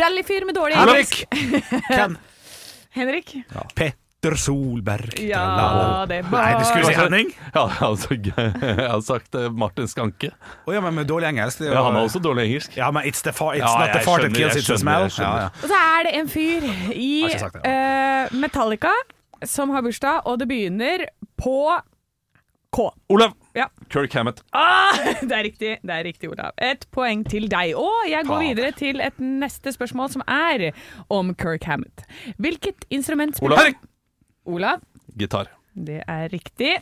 [SPEAKER 4] Rallyfyr med dårlig
[SPEAKER 5] Henrik!
[SPEAKER 4] engelsk.
[SPEAKER 5] Ken
[SPEAKER 4] Henrik.
[SPEAKER 5] Petter Solberg.
[SPEAKER 4] Ja, det er
[SPEAKER 5] Nei, du skulle si
[SPEAKER 4] bare-
[SPEAKER 5] Henning.
[SPEAKER 3] Ja, altså, jeg har sagt eh, Martin Skanke.
[SPEAKER 5] Å ja, men med dårlig engelsk. det er jo-
[SPEAKER 3] Ja, han har også dårlig engelsk.
[SPEAKER 5] Ja, men it's, the far, it's
[SPEAKER 3] Ja,
[SPEAKER 5] not the
[SPEAKER 3] jeg
[SPEAKER 5] fart that
[SPEAKER 3] skjønner,
[SPEAKER 5] kills,
[SPEAKER 3] jeg
[SPEAKER 5] it's the
[SPEAKER 3] skjønner,
[SPEAKER 5] smell.
[SPEAKER 3] jeg skjønner.
[SPEAKER 5] Ja, ja.
[SPEAKER 4] Og så er det en fyr i
[SPEAKER 5] Har ikke sagt det,
[SPEAKER 4] eh, Metallica som har bursdag, og det begynner på K.
[SPEAKER 3] Olav!
[SPEAKER 4] Ja.
[SPEAKER 3] Kirk Hammett.
[SPEAKER 4] Ah, det er riktig, det er riktig, Olav. Et poeng til deg. Og jeg går videre til et neste spørsmål, som er om Kirk Hammett. Hvilket instrument spiller
[SPEAKER 3] Olav. Henrik.
[SPEAKER 4] Olav.
[SPEAKER 3] Gitar.
[SPEAKER 4] Det er riktig.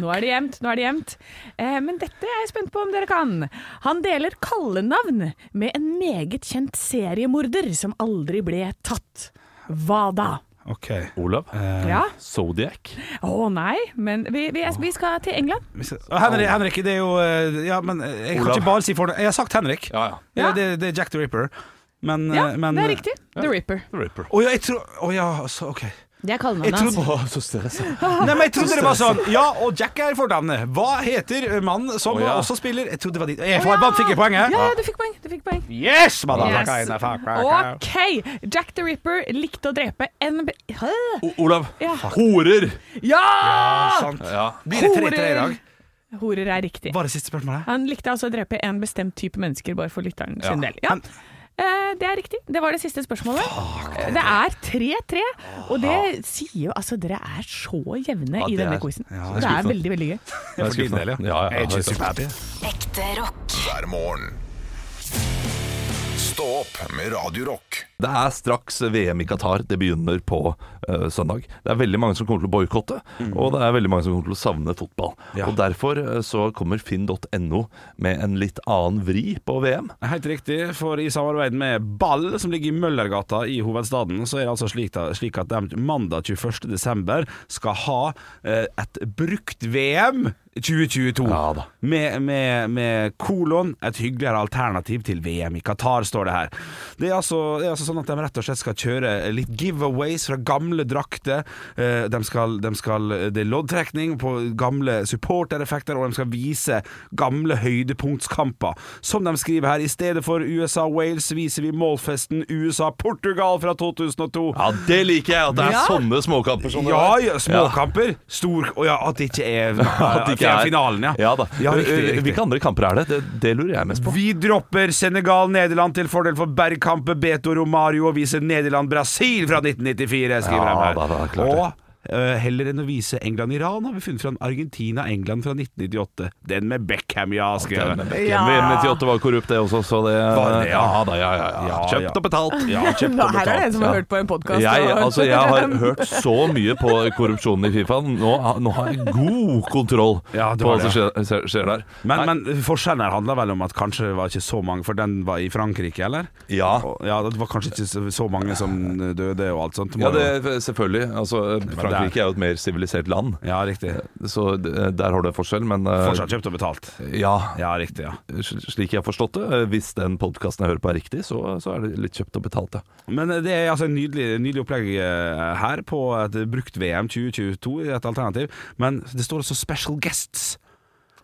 [SPEAKER 4] Nå er det jevnt, nå er det jevnt. Eh, men dette er jeg spent på om dere kan. Han deler kallenavn med en meget kjent seriemorder som aldri ble tatt. Hva da?
[SPEAKER 5] Ok.
[SPEAKER 3] Olav.
[SPEAKER 5] Eh.
[SPEAKER 4] Ja?
[SPEAKER 3] Zodiac.
[SPEAKER 4] Å nei, men vi, vi, er, vi skal til England.
[SPEAKER 5] Hvis- Å, Henrik, Henrik, det er jo eh, Ja, men eh, jeg kan
[SPEAKER 3] Olav.
[SPEAKER 5] ikke bare si for Jeg har sagt Henrik.
[SPEAKER 3] Ja, ja.
[SPEAKER 5] Ja,
[SPEAKER 4] Ja.
[SPEAKER 5] det, det er Jack the Ripper. Men,
[SPEAKER 4] Ja,
[SPEAKER 5] eh, men eh,
[SPEAKER 4] det er riktig. The Ripper.
[SPEAKER 3] The Ripper.
[SPEAKER 5] Å ja, jeg tror Å ja, så, OK.
[SPEAKER 4] Det er sånn.
[SPEAKER 5] Jeg
[SPEAKER 4] kallenavnet hans.
[SPEAKER 5] trodde,
[SPEAKER 3] så stressa.
[SPEAKER 5] nei, men jeg trodde det var sånn. Ja, og Jack er fornavnet. Hva heter mannen som
[SPEAKER 3] Å, ja.
[SPEAKER 5] også spiller Jeg trodde det var ditt. Jeg får, man fikk jeg poenget.
[SPEAKER 4] Ja, ja, du fikk poeng. Du fikk poeng.
[SPEAKER 5] Yes! motherfucker,
[SPEAKER 4] Yes.
[SPEAKER 5] in the fuck, fuck, fuck.
[SPEAKER 4] OK. Jack the Ripper likte å drepe en be- Hæ?
[SPEAKER 5] Oh.
[SPEAKER 3] O Olav.
[SPEAKER 4] Ja!
[SPEAKER 3] Horer.
[SPEAKER 4] ja!
[SPEAKER 5] Sant.
[SPEAKER 3] Ja.
[SPEAKER 5] Blir det 3-3 i dag?
[SPEAKER 4] Horer er riktig.
[SPEAKER 5] Bare siste spørsmålet.
[SPEAKER 4] Han likte altså å drepe en bestemt type mennesker, bare for lytteren
[SPEAKER 3] Ja.
[SPEAKER 4] sin del. Ja.
[SPEAKER 5] Men-
[SPEAKER 4] Eh, Det er riktig. Det var det siste spørsmålet. Eh, Det er 3-3, og det sier jo Altså, dere er så jevne
[SPEAKER 3] Ja,
[SPEAKER 4] i
[SPEAKER 3] det
[SPEAKER 4] denne
[SPEAKER 3] er-
[SPEAKER 4] quizen.
[SPEAKER 3] ja,
[SPEAKER 4] det
[SPEAKER 3] det er
[SPEAKER 4] er
[SPEAKER 3] skuffende.
[SPEAKER 4] veldig, veldig gøy.
[SPEAKER 3] Det er
[SPEAKER 5] For din
[SPEAKER 3] skuffende.
[SPEAKER 5] del, ja.
[SPEAKER 3] Ja, ja,
[SPEAKER 5] Jeg er ikke
[SPEAKER 3] helt
[SPEAKER 5] superhappy.
[SPEAKER 6] Ekte rock.
[SPEAKER 2] hver morgen. Stå opp med Radio Rock.
[SPEAKER 3] Det er straks VM i Qatar. Det begynner på eh, søndag. Det er veldig mange som kommer til å boikotte, og det er veldig mange som kommer til å savne fotball.
[SPEAKER 5] Ja.
[SPEAKER 3] Og Derfor eh, så kommer finn.no med en litt annen vri på VM.
[SPEAKER 5] Helt riktig, for i samarbeid med Ball, som ligger i Møllergata i hovedstaden, så er det altså slik, da, slik at de mandag 21. desember skal ha eh, et brukt VM 2022.
[SPEAKER 3] Ja da.
[SPEAKER 5] Med, med, med kolon 'et hyggeligere alternativ til VM i Qatar', står det her. Det er altså, det er altså sånn at de rett og slett skal kjøre litt giveaways fra gamle drakter. Eh, De skal, de skal, det er loddtrekning på gamle supportereffekter, og de skal vise gamle høydepunktskamper. Som de skriver her, i stedet for USA-Wales viser vi målfesten USA-Portugal fra 2002.
[SPEAKER 3] Ja, det liker jeg! At det er
[SPEAKER 4] Ja.
[SPEAKER 3] sånne småkamper som det
[SPEAKER 5] Ja,
[SPEAKER 3] der.
[SPEAKER 5] ja, småkamper. Stor Å ja, at det ikke er
[SPEAKER 3] At det ikke er
[SPEAKER 5] finalen, ja.
[SPEAKER 3] ja da.
[SPEAKER 5] Ja, riktig,
[SPEAKER 3] Eh,
[SPEAKER 5] riktig.
[SPEAKER 3] Hvilke andre kamper er det? Det, det lurer jeg mest på.
[SPEAKER 5] Vi dropper Senegal-Nederland til fordel for Bergkampe, Beto Romario og viser Nederland-Brasil fra 1994, skriver
[SPEAKER 3] Ja,
[SPEAKER 5] de her.
[SPEAKER 3] da, da, klart det.
[SPEAKER 5] og eh, heller enn å vise England-Iran har vi funnet fram Argentina-England fra 1998. Den med Beckham, ja, skriver
[SPEAKER 3] Men
[SPEAKER 5] de.
[SPEAKER 3] Beckham VM 98 var korrupt, det også, så det
[SPEAKER 5] Var det, ja.
[SPEAKER 3] da, ja, ja, ja.
[SPEAKER 5] Ja,
[SPEAKER 3] Kjøpt
[SPEAKER 5] ja.
[SPEAKER 3] og betalt.
[SPEAKER 5] Ja, kjøpt og
[SPEAKER 4] Her er det en
[SPEAKER 5] betalt.
[SPEAKER 4] som har
[SPEAKER 3] ja.
[SPEAKER 4] hørt på en podkast.
[SPEAKER 3] Jeg, altså, jeg har hørt så mye på korrupsjonen i Fifa. Nå, nå har jeg god kontroll
[SPEAKER 5] Ja, det
[SPEAKER 3] på
[SPEAKER 5] var
[SPEAKER 3] hva som skjer, skjer- skjer der.
[SPEAKER 5] Men,
[SPEAKER 3] Nei,
[SPEAKER 5] men forskjellen her handler vel om at kanskje det var ikke så mange, for den var i Frankrike, eller?
[SPEAKER 3] ja.
[SPEAKER 5] Og- Ja, det var kanskje ikke så- så mange som døde og alt sånt.
[SPEAKER 3] ja,
[SPEAKER 5] Må
[SPEAKER 3] det,
[SPEAKER 5] jo-
[SPEAKER 3] selvfølgelig. Altså, Frankrike er jo et mer sivilisert land,
[SPEAKER 5] ja, riktig.
[SPEAKER 3] så d- der har du en forskjell, men eh,
[SPEAKER 5] Fortsatt kjøpt og betalt.
[SPEAKER 3] ja,
[SPEAKER 5] Ja, riktig, ja.
[SPEAKER 3] s- slik jeg har forstått det, eh, hvis den podkasten jeg hører på er riktig, så, så er det litt kjøpt og betalt, ja.
[SPEAKER 5] Men det er altså en nydelig, nydelig opplegg eh, her på et brukt VM 2022 i et alternativ. Men det står også 'special guests'.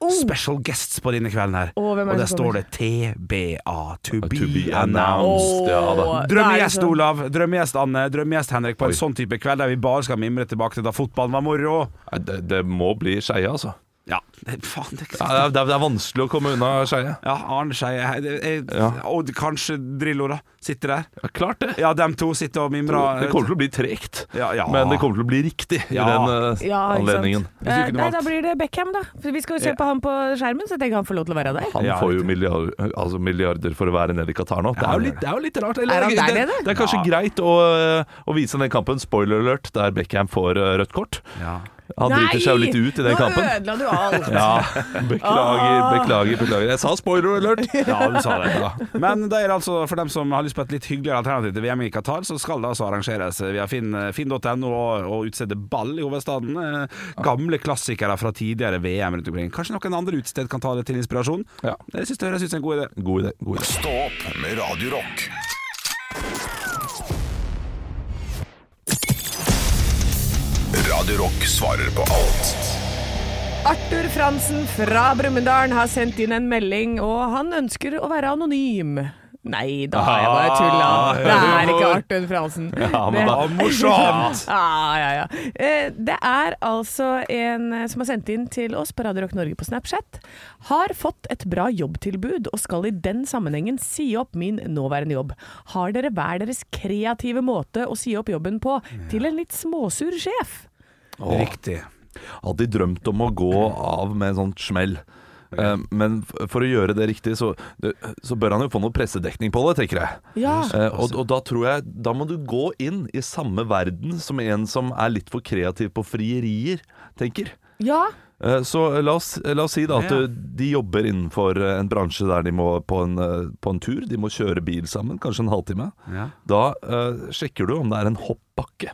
[SPEAKER 4] Oh.
[SPEAKER 5] Special guests på denne kvelden her.
[SPEAKER 4] Å, hvem er
[SPEAKER 5] og
[SPEAKER 4] det
[SPEAKER 5] der
[SPEAKER 4] som
[SPEAKER 5] står det TBA. To, be,
[SPEAKER 3] To be
[SPEAKER 5] announced.
[SPEAKER 3] announced. Ja, da.
[SPEAKER 5] Drømmegjest
[SPEAKER 4] sånn- liksom
[SPEAKER 5] Olav, drømmegjest Anne, drømmegjest Henrik på en sånn type kveld der vi bare skal mimre tilbake til da fotballen var moro.
[SPEAKER 3] Nei, Det, det må bli skeia, altså.
[SPEAKER 5] Ja, det, faen, det er ikke
[SPEAKER 3] Ja,
[SPEAKER 5] sant.
[SPEAKER 3] det, er, det er vanskelig å komme unna Skeie.
[SPEAKER 5] Ja, Arne Skeie hei, det- jeg-
[SPEAKER 3] Ja.
[SPEAKER 5] Og kanskje Drillo, da. Sitter der.
[SPEAKER 3] Ja, klart det.
[SPEAKER 5] Ja, dem to sitter og mimrer.
[SPEAKER 3] Det kommer til å bli tregt,
[SPEAKER 5] Ja, ja.
[SPEAKER 3] men det kommer til å bli riktig i
[SPEAKER 5] Ja.
[SPEAKER 3] den eh,
[SPEAKER 4] Ja, ikke sant.
[SPEAKER 3] anledningen.
[SPEAKER 5] Hvis du
[SPEAKER 4] Eh,
[SPEAKER 5] kunne
[SPEAKER 4] nei,
[SPEAKER 5] valgt-
[SPEAKER 4] da blir det Beckham, da. For vi skal jo se
[SPEAKER 5] Ja.
[SPEAKER 4] på han på skjermen, så jeg tenker han får lov til å være der.
[SPEAKER 3] Han
[SPEAKER 5] Ja,
[SPEAKER 3] får jo milliarder, altså milliarder for å være nede i Qatar nå. Det er jo litt, det er jo litt rart. eller-
[SPEAKER 4] Er han der
[SPEAKER 3] det,
[SPEAKER 4] nede?
[SPEAKER 3] det er kanskje greit å, eh, å vise den kampen, spoiler alert, der Beckham får eh, rødt kort.
[SPEAKER 5] Ja.
[SPEAKER 3] Han driter seg jo litt ut i den
[SPEAKER 4] Nå
[SPEAKER 3] kampen.
[SPEAKER 4] ødela du alt.
[SPEAKER 3] Ja, beklager, beklager, beklager. Jeg sa spoiler alert!
[SPEAKER 5] Ja, du sa det. Men det er altså, for dem som har lyst på et litt hyggeligere alternativ til VM i Qatar, så skal det altså arrangeres via finn- finn.no og, og utstedet ball i hovedstaden.
[SPEAKER 3] Ah.
[SPEAKER 5] Eh, Gamle klassikere fra tidligere VM rundt omkring. Kanskje noen andre utested kan ta det til inspirasjon?
[SPEAKER 3] Ja.
[SPEAKER 5] Det synes jeg høres ut som en god idé.
[SPEAKER 3] God idé. god idé
[SPEAKER 2] Stå opp med Radio Rock. Radio Rock svarer på alt.
[SPEAKER 4] Arthur Fransen fra Brumunddal har sendt inn en melding, og han ønsker å være anonym. Nei da, jeg bare tulla. Det er ikke Arthur Fransen.
[SPEAKER 3] Ja, men da-
[SPEAKER 5] morsomt!
[SPEAKER 4] Ja, ja, ja. Eh, Det er altså en eh, som har sendt inn til oss på Radio Rock Norge på Snapchat. Har fått et bra jobbtilbud og skal i den sammenhengen si opp min nåværende jobb. Har dere hver deres kreative måte å si opp jobben på til en litt småsur sjef?
[SPEAKER 5] Riktig.
[SPEAKER 3] Hadde drømt om å gå av med en sånn smell. Eh, Men f- for å gjøre det riktig, så, så bør han jo få noe pressedekning på det, tenker jeg.
[SPEAKER 4] Ja.
[SPEAKER 3] Eh, og, og da tror jeg Da må du gå inn i samme verden som en som er litt for kreativ på frierier, tenker.
[SPEAKER 4] Ja.
[SPEAKER 3] Eh, Så la oss, la oss si da at
[SPEAKER 5] Ja.
[SPEAKER 3] eh, de jobber innenfor eh, en bransje der de må på en, eh, på en tur. De må kjøre bil sammen, kanskje en halvtime.
[SPEAKER 5] Ja.
[SPEAKER 3] Da eh, sjekker du om det er en hoppbakke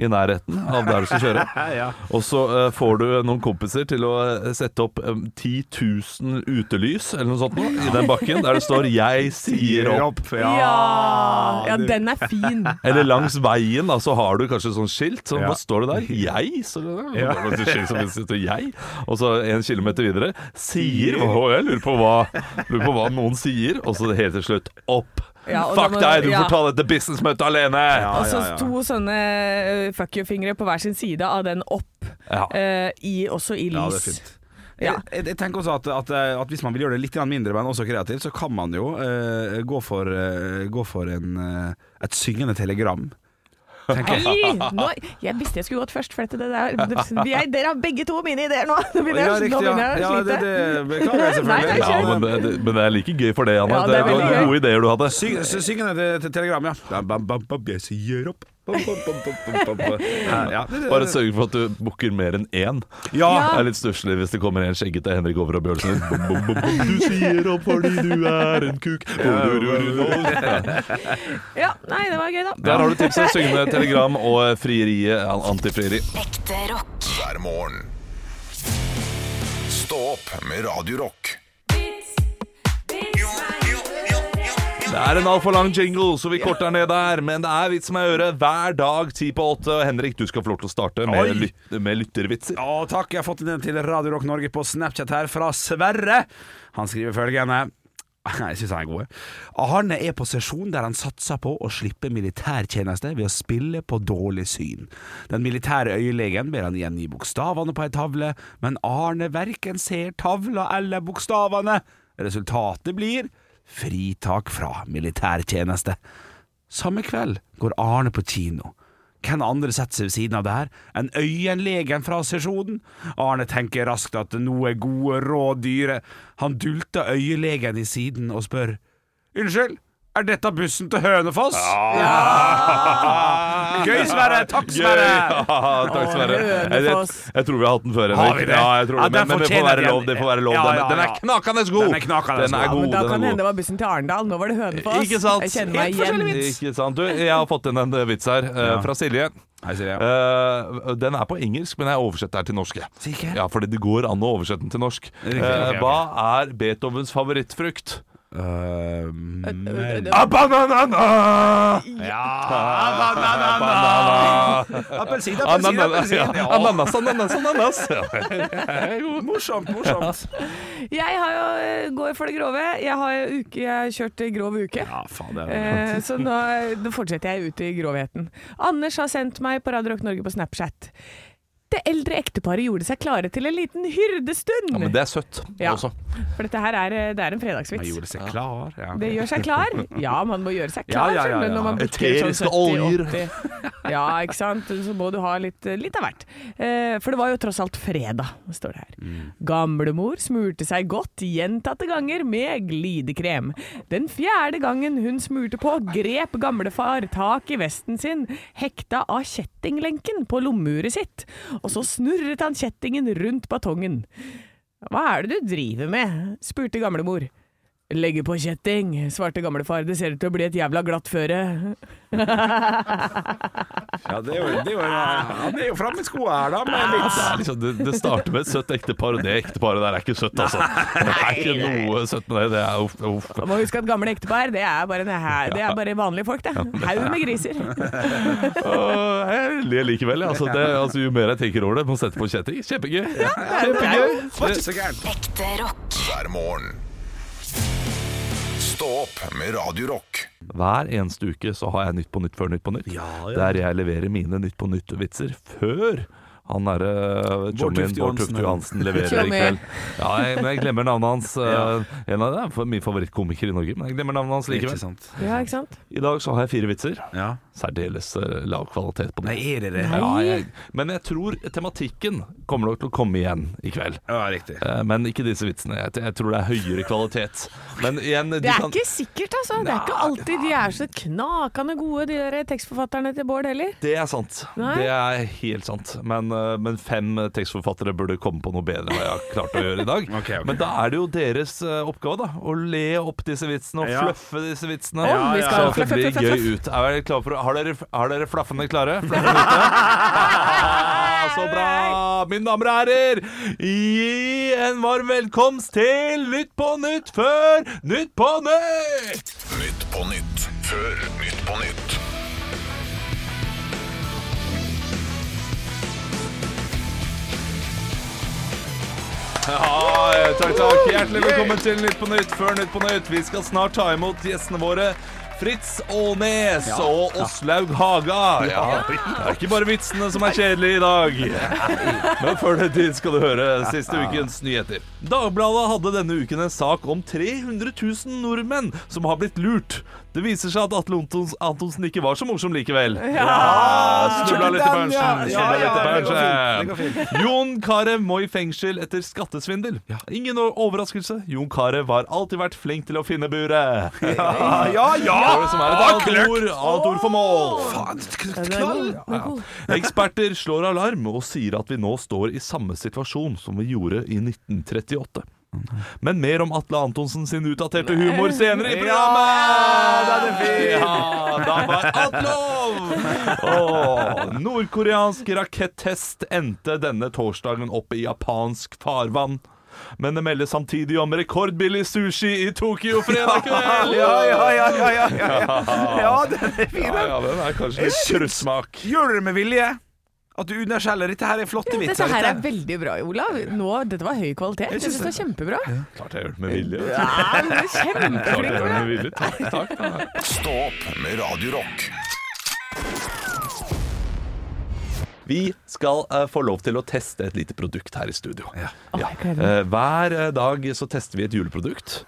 [SPEAKER 3] i nærheten av der du skal kjøre. Og så eh, får du noen kompiser til å eh, sette opp eh, 10 000 utelys eller noe sånt nå, i den bakken der det står 'Jeg sier opp'.
[SPEAKER 5] Ja.
[SPEAKER 4] Ja, ja
[SPEAKER 5] det-
[SPEAKER 4] den er fin.
[SPEAKER 3] Eller langs veien, da, så har du kanskje sånn skilt. Så
[SPEAKER 5] Ja.
[SPEAKER 3] Hva står det der? Jeg? Så, det er masse skilt som sitter jeg. Og så en kilometer videre sier Og jeg lurer på hva, lurer på hva noen sier. Og så helt til slutt opp.
[SPEAKER 4] Ja, og da
[SPEAKER 3] Fuck
[SPEAKER 4] må-
[SPEAKER 3] deg, du
[SPEAKER 4] ja.
[SPEAKER 3] får ta dette businessmøtet alene!
[SPEAKER 4] Og
[SPEAKER 5] Altså,
[SPEAKER 4] så to sånne eh, fuck you-fingre på hver sin side av den opp,
[SPEAKER 3] Ja.
[SPEAKER 4] eh, i, også i lys.
[SPEAKER 5] Ja, det er fint.
[SPEAKER 4] Ja.
[SPEAKER 5] Jeg, jeg, jeg tenker også at, at, at hvis man vil gjøre det litt grann mindre, men også kreativt, så kan man jo eh, gå for, eh, gå for en, eh, et syngende telegram. Tenker jeg.
[SPEAKER 4] Nei! Nå, jeg visste jeg skulle gått først, for dette, det der, vi er, dere har begge to mine ideer nå. Nå begynner
[SPEAKER 5] Ja,
[SPEAKER 4] jeg, nå
[SPEAKER 5] riktig. Ja,
[SPEAKER 4] begynner jeg
[SPEAKER 5] ja
[SPEAKER 4] å
[SPEAKER 5] det,
[SPEAKER 4] slite.
[SPEAKER 5] det beklager jeg
[SPEAKER 4] Nei,
[SPEAKER 5] selvfølgelig.
[SPEAKER 4] det er
[SPEAKER 3] Ja, men, det, det, men det er like gøy for det, Anne.
[SPEAKER 4] Ja,
[SPEAKER 3] det,
[SPEAKER 4] det er
[SPEAKER 3] det var
[SPEAKER 4] veldig
[SPEAKER 3] gode ideer du hadde.
[SPEAKER 5] Syng, sy- syngende te- te- telegram, ja. Bam, bam, bam, bam, jeg sier opp. Bam, bam, bam, bam, bam, bam. Ja, ja. det- det-
[SPEAKER 3] Bare sørg for at du booker mer enn én. Ah,
[SPEAKER 5] Ja.
[SPEAKER 3] Det er litt stusslig hvis det kommer en skjeggete Henrik over og Bjørnsen. Bom, bom, bom, bom. Du sier opp fordi du er en kuk. Bom, du, du, du, du.
[SPEAKER 4] Ja, nei, det var gøy, da.
[SPEAKER 3] Der har du tipset. Syngende telegram og frieriet an- antifrieri.
[SPEAKER 6] Ekte rock.
[SPEAKER 2] hver morgen. Stå opp med Radio Rock.
[SPEAKER 3] Det er en altfor lang jingle, så vi korter ned der. Men det er vits med øret hver dag ti på åtte. Og Henrik, du skal få lov til å starte med,
[SPEAKER 5] Oi.
[SPEAKER 3] lyt med lyttervitser.
[SPEAKER 5] Ja, takk. Jeg har fått den til Radio Rock Norge på Snapchat her fra Sverre. Han skriver følgende. Jeg syns han er god. Arne er på sesjon der han satser på å slippe militærtjeneste ved å spille på dårlig syn. Den militære øyelegen ber han gjengi bokstavene på ei tavle, men Arne verken ser tavla eller bokstavene. Resultatet blir fritak fra militærtjeneste. Samme kveld går Arne på kino. Hvem andre setter seg ved siden av det her enn øyenlegen fra sesjonen? Arne tenker raskt at noe er gode råd dyre. Han dulter øyelegen i siden og spør Unnskyld, er dette bussen til Hønefoss? Gøy, Sverre! Takk, Sverre!
[SPEAKER 3] Gøy. Ja, takk, Sverre.
[SPEAKER 4] Å,
[SPEAKER 3] Jeg, jeg,
[SPEAKER 4] Hønefoss.
[SPEAKER 3] jeg tror vi har hatt den før, Henrik.
[SPEAKER 5] Har vi det?
[SPEAKER 3] Ja, jeg tror det.
[SPEAKER 5] Ja,
[SPEAKER 3] Men,
[SPEAKER 5] den
[SPEAKER 3] men det får
[SPEAKER 5] fortjener
[SPEAKER 3] være lov.
[SPEAKER 5] den.
[SPEAKER 3] Det får være lov.
[SPEAKER 5] Ja,
[SPEAKER 3] Den-
[SPEAKER 5] ja,
[SPEAKER 3] Den er
[SPEAKER 5] ja.
[SPEAKER 3] knakende god.
[SPEAKER 5] Den er knakende
[SPEAKER 3] Den er
[SPEAKER 5] god.
[SPEAKER 3] god.
[SPEAKER 4] Men da
[SPEAKER 3] den
[SPEAKER 4] kan
[SPEAKER 3] er
[SPEAKER 4] det hende
[SPEAKER 3] god.
[SPEAKER 4] det var bussen til Arendal. Nå var det Hønefoss.
[SPEAKER 3] Ikke sant?
[SPEAKER 4] Jeg kjenner meg
[SPEAKER 3] Helt
[SPEAKER 4] igjen.
[SPEAKER 3] forskjellig vits. Ikke sant? Du, jeg har fått inn en eh, vits her eh, fra Silje.
[SPEAKER 5] Hei, Silje.
[SPEAKER 3] Eh, den er på engelsk, men jeg oversetter den til norske.
[SPEAKER 5] Sikker?
[SPEAKER 3] Ja, fordi det går an å oversette den til norsk.
[SPEAKER 5] Riktig,
[SPEAKER 3] Eh,
[SPEAKER 5] ok, ok.
[SPEAKER 3] Hva er Beethovens favorittfrukt?
[SPEAKER 5] Uh,
[SPEAKER 3] Ah!
[SPEAKER 4] Ja.
[SPEAKER 5] Appelsin,
[SPEAKER 3] Ananas,
[SPEAKER 5] appelsin, appelsin.
[SPEAKER 3] ja.
[SPEAKER 5] Ja.
[SPEAKER 3] ananas, ananas, ananas. Ja.
[SPEAKER 5] Morsomt, morsomt.
[SPEAKER 4] Jeg har jo, eh, går for det grove. Jeg har jo uke, jeg har kjørt eh, grov uke.
[SPEAKER 5] Ja, faen, det er
[SPEAKER 4] Eh, så nå, nå fortsetter jeg ut i grovheten. Anders har sendt meg på Radio Rock Norge på Snapchat. Det eldre ekteparet gjorde seg klare til en liten hyrdestund.
[SPEAKER 3] Ja, men det er søtt
[SPEAKER 4] Ja.
[SPEAKER 3] også.
[SPEAKER 4] For dette her er, eh, det er en
[SPEAKER 5] Man
[SPEAKER 4] fredagsvits.
[SPEAKER 5] gjorde seg klar. Ja.
[SPEAKER 4] Det gjør seg klar. Ja, man må gjøre seg
[SPEAKER 5] Ja,
[SPEAKER 4] klar
[SPEAKER 5] ja, ja,
[SPEAKER 4] skjønner du,
[SPEAKER 5] ja.
[SPEAKER 4] når man bikker
[SPEAKER 3] Eteriske oljer.
[SPEAKER 4] 70-80. Ja, ikke sant. Så må du ha litt, litt av hvert. Eh, For det var jo tross alt fredag, står det her.
[SPEAKER 5] Mm.
[SPEAKER 4] Gamlemor smurte seg godt gjentatte ganger med glidekrem. Den fjerde gangen hun smurte på, grep gamlefar tak i vesten sin, hekta av kjettinglenken på lommeuret sitt, og så snurret han kjettingen rundt batongen. Hva er det du driver med? spurte gamlemor. Legge på kjetting, svarte gamlefar. Det ser ut til å bli et jævla glatt føre.
[SPEAKER 5] Ja, det er jo, det er jo, han er jo framme i skoa her, da, med litt
[SPEAKER 3] Det, er liksom, det, det starter med et søtt ektepar, og det ekteparet der er ikke søtt, altså. Det er ikke noe søtt med det. det er, uff, uff.
[SPEAKER 4] Man må huske at gamle ektepar, det er bare, en hæ- det er bare vanlige folk, det. Haug med griser.
[SPEAKER 3] Åh, jeg ler likevel, jeg. altså, det, altså. Jo mer jeg tenker over det, må sette på kjetting. Kjempegøy. Kjempegøy.
[SPEAKER 5] så gærent.
[SPEAKER 6] Ekte rock.
[SPEAKER 2] hver morgen. Stå opp med Radio Rock.
[SPEAKER 3] Hver eneste uke så har jeg Nytt på Nytt før Nytt på Nytt, der jeg leverer mine Nytt på Nytt-vitser før han derre jommien
[SPEAKER 5] Tufte
[SPEAKER 3] Bård
[SPEAKER 5] Johansen.
[SPEAKER 3] Tufte Johansen leverer i
[SPEAKER 4] Tjommi.
[SPEAKER 3] kveld. Ja, jeg, men jeg glemmer navnet hans. eh, En av dem er min favorittkomiker i Norge, men jeg glemmer navnet hans
[SPEAKER 5] Ikke
[SPEAKER 3] likevel.
[SPEAKER 5] sant.
[SPEAKER 4] Ja, ikke sant?
[SPEAKER 3] I dag så har jeg fire vitser.
[SPEAKER 5] Ja.
[SPEAKER 3] Særdeles eh, lav kvalitet på
[SPEAKER 5] Nei,
[SPEAKER 3] det.
[SPEAKER 5] er det det?
[SPEAKER 3] Ja, jeg, men jeg tror tematikken kommer nok til å komme igjen i kveld.
[SPEAKER 5] Ja, riktig.
[SPEAKER 3] Eh, Men ikke disse vitsene. Jeg, jeg tror det er høyere kvalitet. Men igjen, de
[SPEAKER 4] Det er
[SPEAKER 3] kan
[SPEAKER 4] ikke sikkert, altså. Det er ikke alltid de er så knakende gode, de der tekstforfatterne til Bård heller.
[SPEAKER 3] Det er sant.
[SPEAKER 4] Nei.
[SPEAKER 3] Det er helt sant. Men, eh, men fem eh, tekstforfattere burde komme på noe bedre enn hva jeg har klart å gjøre i dag.
[SPEAKER 5] Ok, ok.
[SPEAKER 3] Men da er det jo deres eh, oppgave, da. Å le opp disse vitsene og
[SPEAKER 5] Ja.
[SPEAKER 3] fluffe disse vitsene.
[SPEAKER 4] Om vi skal
[SPEAKER 3] Så at det
[SPEAKER 4] fluff,
[SPEAKER 3] blir
[SPEAKER 4] fluff, fluff,
[SPEAKER 3] gøy ut. Er dere klare for, har, dere, har dere flaffene klare? Flaffene ute? Så bra! Mine damer og herrer, gi en varm velkomst til Nytt på nytt før Nytt på nytt!
[SPEAKER 2] Nytt på nytt før Nytt på nytt.
[SPEAKER 3] Ja, eh, takk, takk. Hjertelig velkommen til Nytt på Nytt før Nytt på Nytt. Vi skal snart ta imot gjestene våre. Fritz Aanes og Åslaug Haga. Ja. Det er ikke bare vitsene som er kjedelige i dag. Men før den tid skal du høre siste ukens nyheter. Dagbladet hadde denne uken en sak om 300 000 nordmenn som har blitt lurt. Det viser seg at Atle Antons- Antonsen ikke var så morsom likevel. Ja, Snubla litt i
[SPEAKER 5] Ah, Den, ja.
[SPEAKER 3] punchen.
[SPEAKER 5] Ja,
[SPEAKER 3] snubla litt i
[SPEAKER 5] ja, det går fint, det går
[SPEAKER 3] punchen. Jon Carew må i fengsel etter skattesvindel. Ingen o- overraskelse. Jon Carew har alltid vært flink til å finne buret.
[SPEAKER 5] Ja, ja!
[SPEAKER 3] Det
[SPEAKER 5] ja.
[SPEAKER 3] er det som er et annet ord, annet ord for mål.
[SPEAKER 5] Faen,
[SPEAKER 4] Den er god.
[SPEAKER 5] knall!
[SPEAKER 4] Den er god.
[SPEAKER 3] Eksperter slår alarm og sier at vi nå står i samme situasjon som vi gjorde i 1938. Men mer om Atle Antonsen sin utdaterte humor senere i programmet! Ja, da var Atlov! Åh, Nordkoreansk rakettest endte denne torsdagen opp i japansk farvann. Men det meldes samtidig om rekordbillig sushi i Tokyo fredag kveld!
[SPEAKER 5] Ja, ja, ja, ja, ja, ja, ja. ja den er fin.
[SPEAKER 3] ja, ja, den er kanskje litt krusmak.
[SPEAKER 5] Gjør du det med vilje? At du underskjeller dette her er flotte
[SPEAKER 4] Dette
[SPEAKER 5] vitser.
[SPEAKER 4] her er
[SPEAKER 5] dette.
[SPEAKER 4] veldig bra, Olav. Nå, dette var høy kvalitet. Jeg
[SPEAKER 5] synes
[SPEAKER 4] syns det var kjempebra.
[SPEAKER 3] Klart jeg gjør det med vilje.
[SPEAKER 4] Ja, du er kjempeflink,
[SPEAKER 3] Klart jeg gjør det
[SPEAKER 4] Olav.
[SPEAKER 3] med vilje. Takk, takk. takk.
[SPEAKER 2] Stå opp med Radio Rock.
[SPEAKER 3] Vi skal eh, få lov til å teste et lite produkt her i studio. Ja.
[SPEAKER 4] jeg gleder
[SPEAKER 3] Eh, hver eh, dag så tester vi et juleprodukt.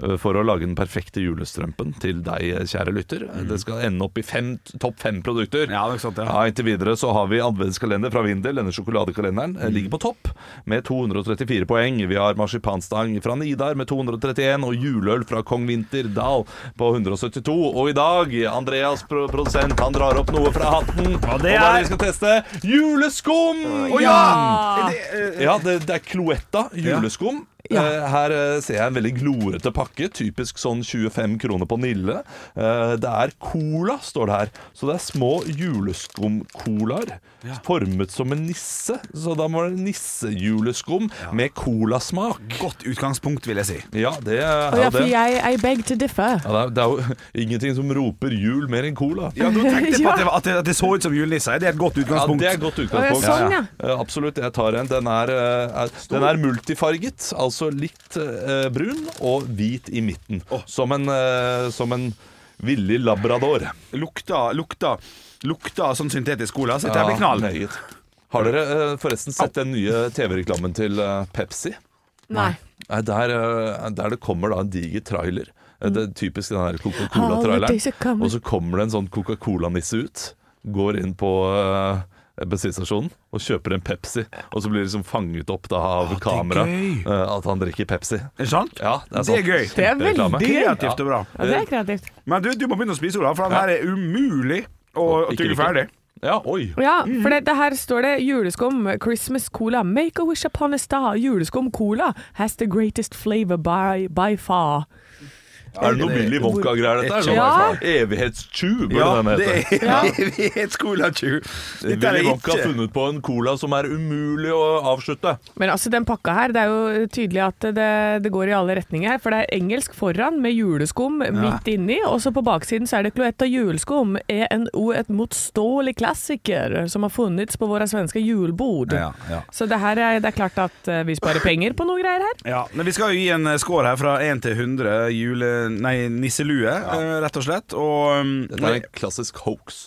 [SPEAKER 3] eh, For å lage den perfekte julestrømpen til deg, eh, kjære lytter. Eh, Det skal ende opp i fem, topp fem produkter.
[SPEAKER 5] Mhm. Ja, nok sånt, ja.
[SPEAKER 3] Ja, Inntil videre så har vi adventskalender fra Vindel. Denne sjokoladekalenderen
[SPEAKER 5] Mhm.
[SPEAKER 3] eh, ligger på topp med 234 poeng. Vi har marsipanstang fra Nidar med 231 og juleøl fra Kong Vinter Dal på 172. Og i dag, Andreas pro produsent, han drar opp noe fra hatten. Og
[SPEAKER 5] det
[SPEAKER 3] hva vi
[SPEAKER 5] er-
[SPEAKER 3] skal teste? Juleskum!
[SPEAKER 5] Å ja! Er det, eh,
[SPEAKER 3] Ja, det, det er Cloetta juleskum.
[SPEAKER 4] Ja.
[SPEAKER 3] Eh, Her eh, ser jeg en veldig glorete pakke. Typisk sånn 25 kroner på Nille. Eh, Det er cola, står det her. Så det er små juleskumcolaer formet som en nisse. Så da må det nissejuleskum med colasmak.
[SPEAKER 5] Godt utgangspunkt, vil jeg si.
[SPEAKER 3] Ja, det
[SPEAKER 4] Å
[SPEAKER 3] er jo
[SPEAKER 4] ja, for
[SPEAKER 3] det.
[SPEAKER 4] jeg I beg to differ.
[SPEAKER 3] Ja, det, er, det er jo ingenting som roper jul mer enn cola.
[SPEAKER 5] Ja, nå tenkte jeg på at det, var- at det, at det så ut som julenisser. Det er et godt
[SPEAKER 3] Ja,
[SPEAKER 5] utgangspunkt.
[SPEAKER 3] det er et godt utgangspunkt.
[SPEAKER 4] Å, ja, sånn, ja.
[SPEAKER 3] Eh, Absolutt, jeg tar en. Den er, eh, er, den er multifarget, altså litt eh, brun og hvit i midten. Som en, eh, som en villig labrador.
[SPEAKER 5] Lukta, lukta, lukta sånn syntetisk cola. Så dette
[SPEAKER 3] Ja,
[SPEAKER 5] blir knall.
[SPEAKER 3] meget. Har dere eh, forresten sett den nye TV-reklamen til eh, Pepsi?
[SPEAKER 4] Nei.
[SPEAKER 3] Nei, der, eh, der det kommer da en diger trailer. Eh, Det er typisk den der
[SPEAKER 4] Holidays are
[SPEAKER 3] Coca-Cola-traileren.
[SPEAKER 4] coming.
[SPEAKER 3] Og så kommer det en sånn Coca-Cola-nisse ut. Går inn på eh, bensinstasjonen og kjøper en Pepsi. Og så blir det liksom fanget opp da av
[SPEAKER 5] det er
[SPEAKER 3] kamera
[SPEAKER 5] gøy.
[SPEAKER 3] eh, at han drikker Pepsi.
[SPEAKER 5] Er det sant?
[SPEAKER 3] Ja, det er,
[SPEAKER 5] Det er
[SPEAKER 3] sant.
[SPEAKER 5] gøy.
[SPEAKER 4] Det er veldig
[SPEAKER 3] Reklame.
[SPEAKER 4] gøy.
[SPEAKER 5] Kreativt og bra.
[SPEAKER 4] Ja, det er kreativt.
[SPEAKER 5] Men du, du må begynne å spise, Olav, for den her er umulig å
[SPEAKER 3] Ikke
[SPEAKER 5] tygge
[SPEAKER 3] drikke.
[SPEAKER 5] ferdig.
[SPEAKER 3] Ja, oi.
[SPEAKER 4] Ja,
[SPEAKER 5] Mm.
[SPEAKER 4] for det, det her står det juleskum, Christmas cola, make a wish upon a star, juleskum cola has the greatest flavor by, by far.
[SPEAKER 3] Er det noe Willy Wonka-greier, dette? her?
[SPEAKER 4] Ja.
[SPEAKER 3] Sånn Evighetstju, burde den hete.
[SPEAKER 5] er
[SPEAKER 4] Ja.
[SPEAKER 5] evighetscola-tju.
[SPEAKER 3] Willy Wonka har funnet på en cola som er umulig å avslutte.
[SPEAKER 4] Men altså, den pakka her, det er jo tydelig at det, det går i alle retninger her, for det er engelsk foran med juleskum midt inni, og så på baksiden så er det Cloetta juleskum, ENO, et motståelig klassiker som har funnits på våre svenske julbord.
[SPEAKER 5] Ja, ja.
[SPEAKER 4] Så det her er, det er klart at eh, vi sparer penger på noen greier her.
[SPEAKER 5] Ja, men Vi skal jo gi en eh, score her fra 1 til 100 jule... Nei, nisselue, eh, rett og slett. Og um,
[SPEAKER 3] Dette er en klassisk hoax.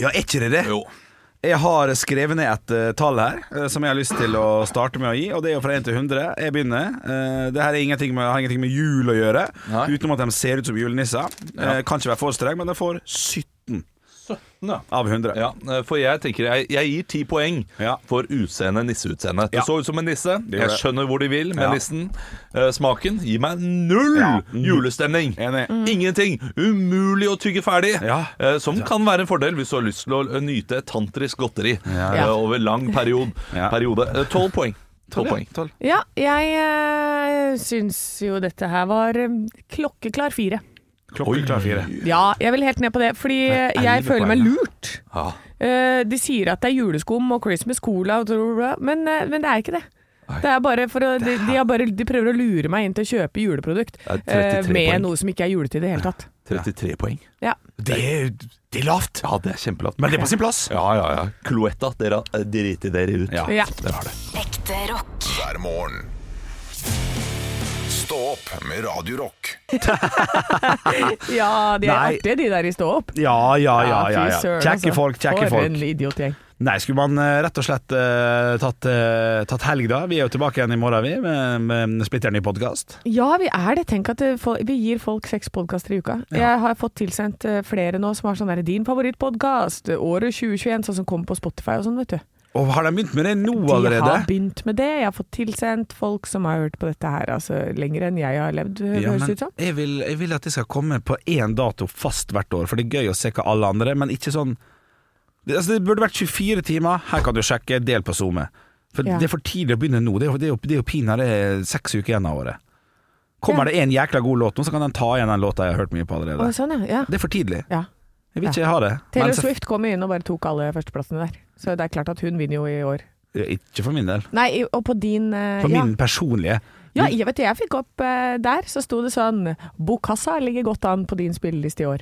[SPEAKER 5] Ja, er ikke det det?
[SPEAKER 3] Jo.
[SPEAKER 5] Jeg har skrevet ned et eh, tall her eh, som jeg har lyst til å starte med å gi, og det er jo fra 1 til 100. Jeg begynner. Eh, det her er ingenting med, har ingenting med jul å gjøre,
[SPEAKER 3] Nei.
[SPEAKER 5] utenom at de ser ut som julenisser. Eh, kan ikke være for streng, men de får 17
[SPEAKER 3] Ja.
[SPEAKER 5] av 100.
[SPEAKER 3] Ja, eh, for jeg tenker jeg, jeg gir ti poeng
[SPEAKER 5] Ja.
[SPEAKER 3] for utseende nisseutseende. Det
[SPEAKER 5] Ja.
[SPEAKER 3] så ut som en nisse.
[SPEAKER 5] Det gjorde
[SPEAKER 3] Jeg
[SPEAKER 5] det.
[SPEAKER 3] skjønner hvor de vil med
[SPEAKER 5] Ja.
[SPEAKER 3] nissen. Eh, smaken gir meg null
[SPEAKER 5] Ja. Mm.
[SPEAKER 3] julestemning. Mm.
[SPEAKER 5] Enig.
[SPEAKER 3] Ingenting. Umulig å tygge ferdig.
[SPEAKER 5] Ja.
[SPEAKER 3] Eh, som kan være en fordel hvis du har lyst til å eh, nyte et tantrisk godteri eh,
[SPEAKER 4] Ja.
[SPEAKER 3] over lang period,
[SPEAKER 5] Ja.
[SPEAKER 3] periode. Eh, Tolv poeng. 12 poeng.
[SPEAKER 4] Ja, jeg uh, syns jo dette her var eh, klokkeklar fire.
[SPEAKER 5] Klokkeklar fire.
[SPEAKER 4] Ja, jeg vil helt ned på det, fordi eh,
[SPEAKER 5] elleve
[SPEAKER 4] jeg føler meg
[SPEAKER 5] poeng,
[SPEAKER 4] lurt.
[SPEAKER 3] Ja.
[SPEAKER 4] Eh, de sier at det er juleskum og Christmas cola, og bla, bla, bla, men, eh, men det er ikke det. Det er bare for å, de, de, har bare, de prøver å lure meg inn til å kjøpe juleprodukt
[SPEAKER 3] Det er
[SPEAKER 4] eh,
[SPEAKER 3] 33
[SPEAKER 4] med
[SPEAKER 3] poeng.
[SPEAKER 4] noe som ikke er julete i det hele tatt.
[SPEAKER 3] 33 poeng.
[SPEAKER 4] Ja.
[SPEAKER 5] Det er, det er lavt,
[SPEAKER 3] Ja, det er kjempelavt.
[SPEAKER 5] men det er på sin plass.
[SPEAKER 3] Ja, ja, ja. Cloetta, dere har eh, driti dere ut.
[SPEAKER 5] Ja.
[SPEAKER 4] Ja.
[SPEAKER 3] Dere har det.
[SPEAKER 6] Ekte rock.
[SPEAKER 2] hver morgen. Stå opp med Radio Rock.
[SPEAKER 4] ja, de er
[SPEAKER 5] Nei.
[SPEAKER 4] artige de der i stå opp.
[SPEAKER 5] Ja, ja, ja. ja, ja.
[SPEAKER 4] fy søren,
[SPEAKER 5] Kjekke
[SPEAKER 4] altså.
[SPEAKER 5] folk, kjekke
[SPEAKER 4] For
[SPEAKER 5] folk.
[SPEAKER 4] en idiotgjeng.
[SPEAKER 5] Nei, skulle man eh, rett og slett eh, tatt, eh, tatt helg da? Vi er jo tilbake igjen i morgen, vi, med, med splitteren i podkast.
[SPEAKER 4] Ja, vi er det. Tenk at eh, fol- vi gir folk seks podkaster i uka. Jeg har fått tilsendt eh, flere nå som har sånn der 'din favorittpodkast', året 2021, sånn som kommer på Spotify og sånn, vet du.
[SPEAKER 5] Og har de begynt med det nå
[SPEAKER 4] De
[SPEAKER 5] allerede?
[SPEAKER 4] har begynt med det. Jeg har fått tilsendt folk som har hørt på dette her altså, lenger enn jeg har levd, eh,
[SPEAKER 5] Ja,
[SPEAKER 4] høres
[SPEAKER 5] men
[SPEAKER 4] det ut som.
[SPEAKER 5] jeg, vil, jeg vil at de skal komme på én dato fast hvert år, for det er gøy å se hva alle andre Men ikke sånn det, altså det burde vært 24 timer. Her kan du sjekke, del på SoMe. For
[SPEAKER 4] Ja.
[SPEAKER 5] det er for tidlig å begynne nå. Det er jo, det er jo, det er jo pinadø seks uker igjen av året. Kommer
[SPEAKER 4] Ja.
[SPEAKER 5] det en jækla god låt nå, så kan den ta igjen den låta jeg har hørt mye på allerede.
[SPEAKER 4] Å, sånn, ja. ja.
[SPEAKER 5] Det er for tidlig.
[SPEAKER 4] ja.
[SPEAKER 5] Jeg vil ikke ha det.
[SPEAKER 4] Taylor
[SPEAKER 5] Men så-
[SPEAKER 4] Swift kom jo inn og bare tok alle førsteplassene der. Så det er klart at hun vinner jo i år.
[SPEAKER 5] Ikke for min del.
[SPEAKER 4] Nei, i- og på din eh,
[SPEAKER 5] For
[SPEAKER 4] ja.
[SPEAKER 5] min personlige.
[SPEAKER 4] ja, jeg vet det, jeg fikk opp eh, der, så sto det sånn Bokassa ligger godt an på din spilleliste i år.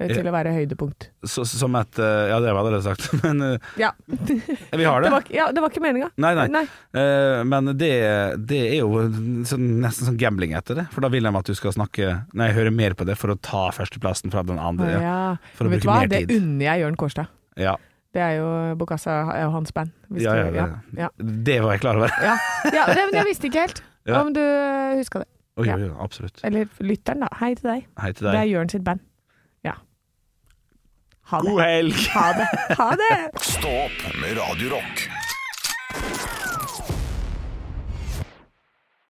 [SPEAKER 4] eh, Til
[SPEAKER 5] Ja.
[SPEAKER 4] å være høydepunkt.
[SPEAKER 5] Så, som et eh, Ja, det har jeg allerede sagt, men eh,
[SPEAKER 4] Ja, det
[SPEAKER 5] vi har det.
[SPEAKER 4] var, ikke- ja, det var ikke meninga.
[SPEAKER 5] Nei, nei. Eh, men det, det er jo sånn, nesten sånn gambling etter det. For da vil de at du skal snakke Nei, høre mer på det for å ta førsteplassen fra den
[SPEAKER 4] Å,
[SPEAKER 5] andre.
[SPEAKER 4] ja.
[SPEAKER 5] For å
[SPEAKER 4] Vet du
[SPEAKER 5] bruke
[SPEAKER 4] hva,
[SPEAKER 5] mer
[SPEAKER 4] det
[SPEAKER 5] tid.
[SPEAKER 4] unner jeg Jørn Kårstad.
[SPEAKER 5] Ja.
[SPEAKER 4] Det er jo Bokassa er jo hans band. hvis
[SPEAKER 5] Ja,
[SPEAKER 4] du-
[SPEAKER 5] ja, ja.
[SPEAKER 4] ja.
[SPEAKER 5] Det var jeg klar over.
[SPEAKER 4] Ja, ja det, men jeg visste ikke helt
[SPEAKER 5] Ja.
[SPEAKER 4] om du huska det.
[SPEAKER 5] Oi,
[SPEAKER 4] Ja.
[SPEAKER 5] oi, oi, absolutt.
[SPEAKER 4] Eller lytteren, da. Hei til deg.
[SPEAKER 5] Hei til
[SPEAKER 4] Det er
[SPEAKER 5] deg.
[SPEAKER 4] Jørn sitt band. Ja. Ha det.
[SPEAKER 5] God helg!
[SPEAKER 4] Ha det. Ha det.
[SPEAKER 2] Stå opp med Radio Rock.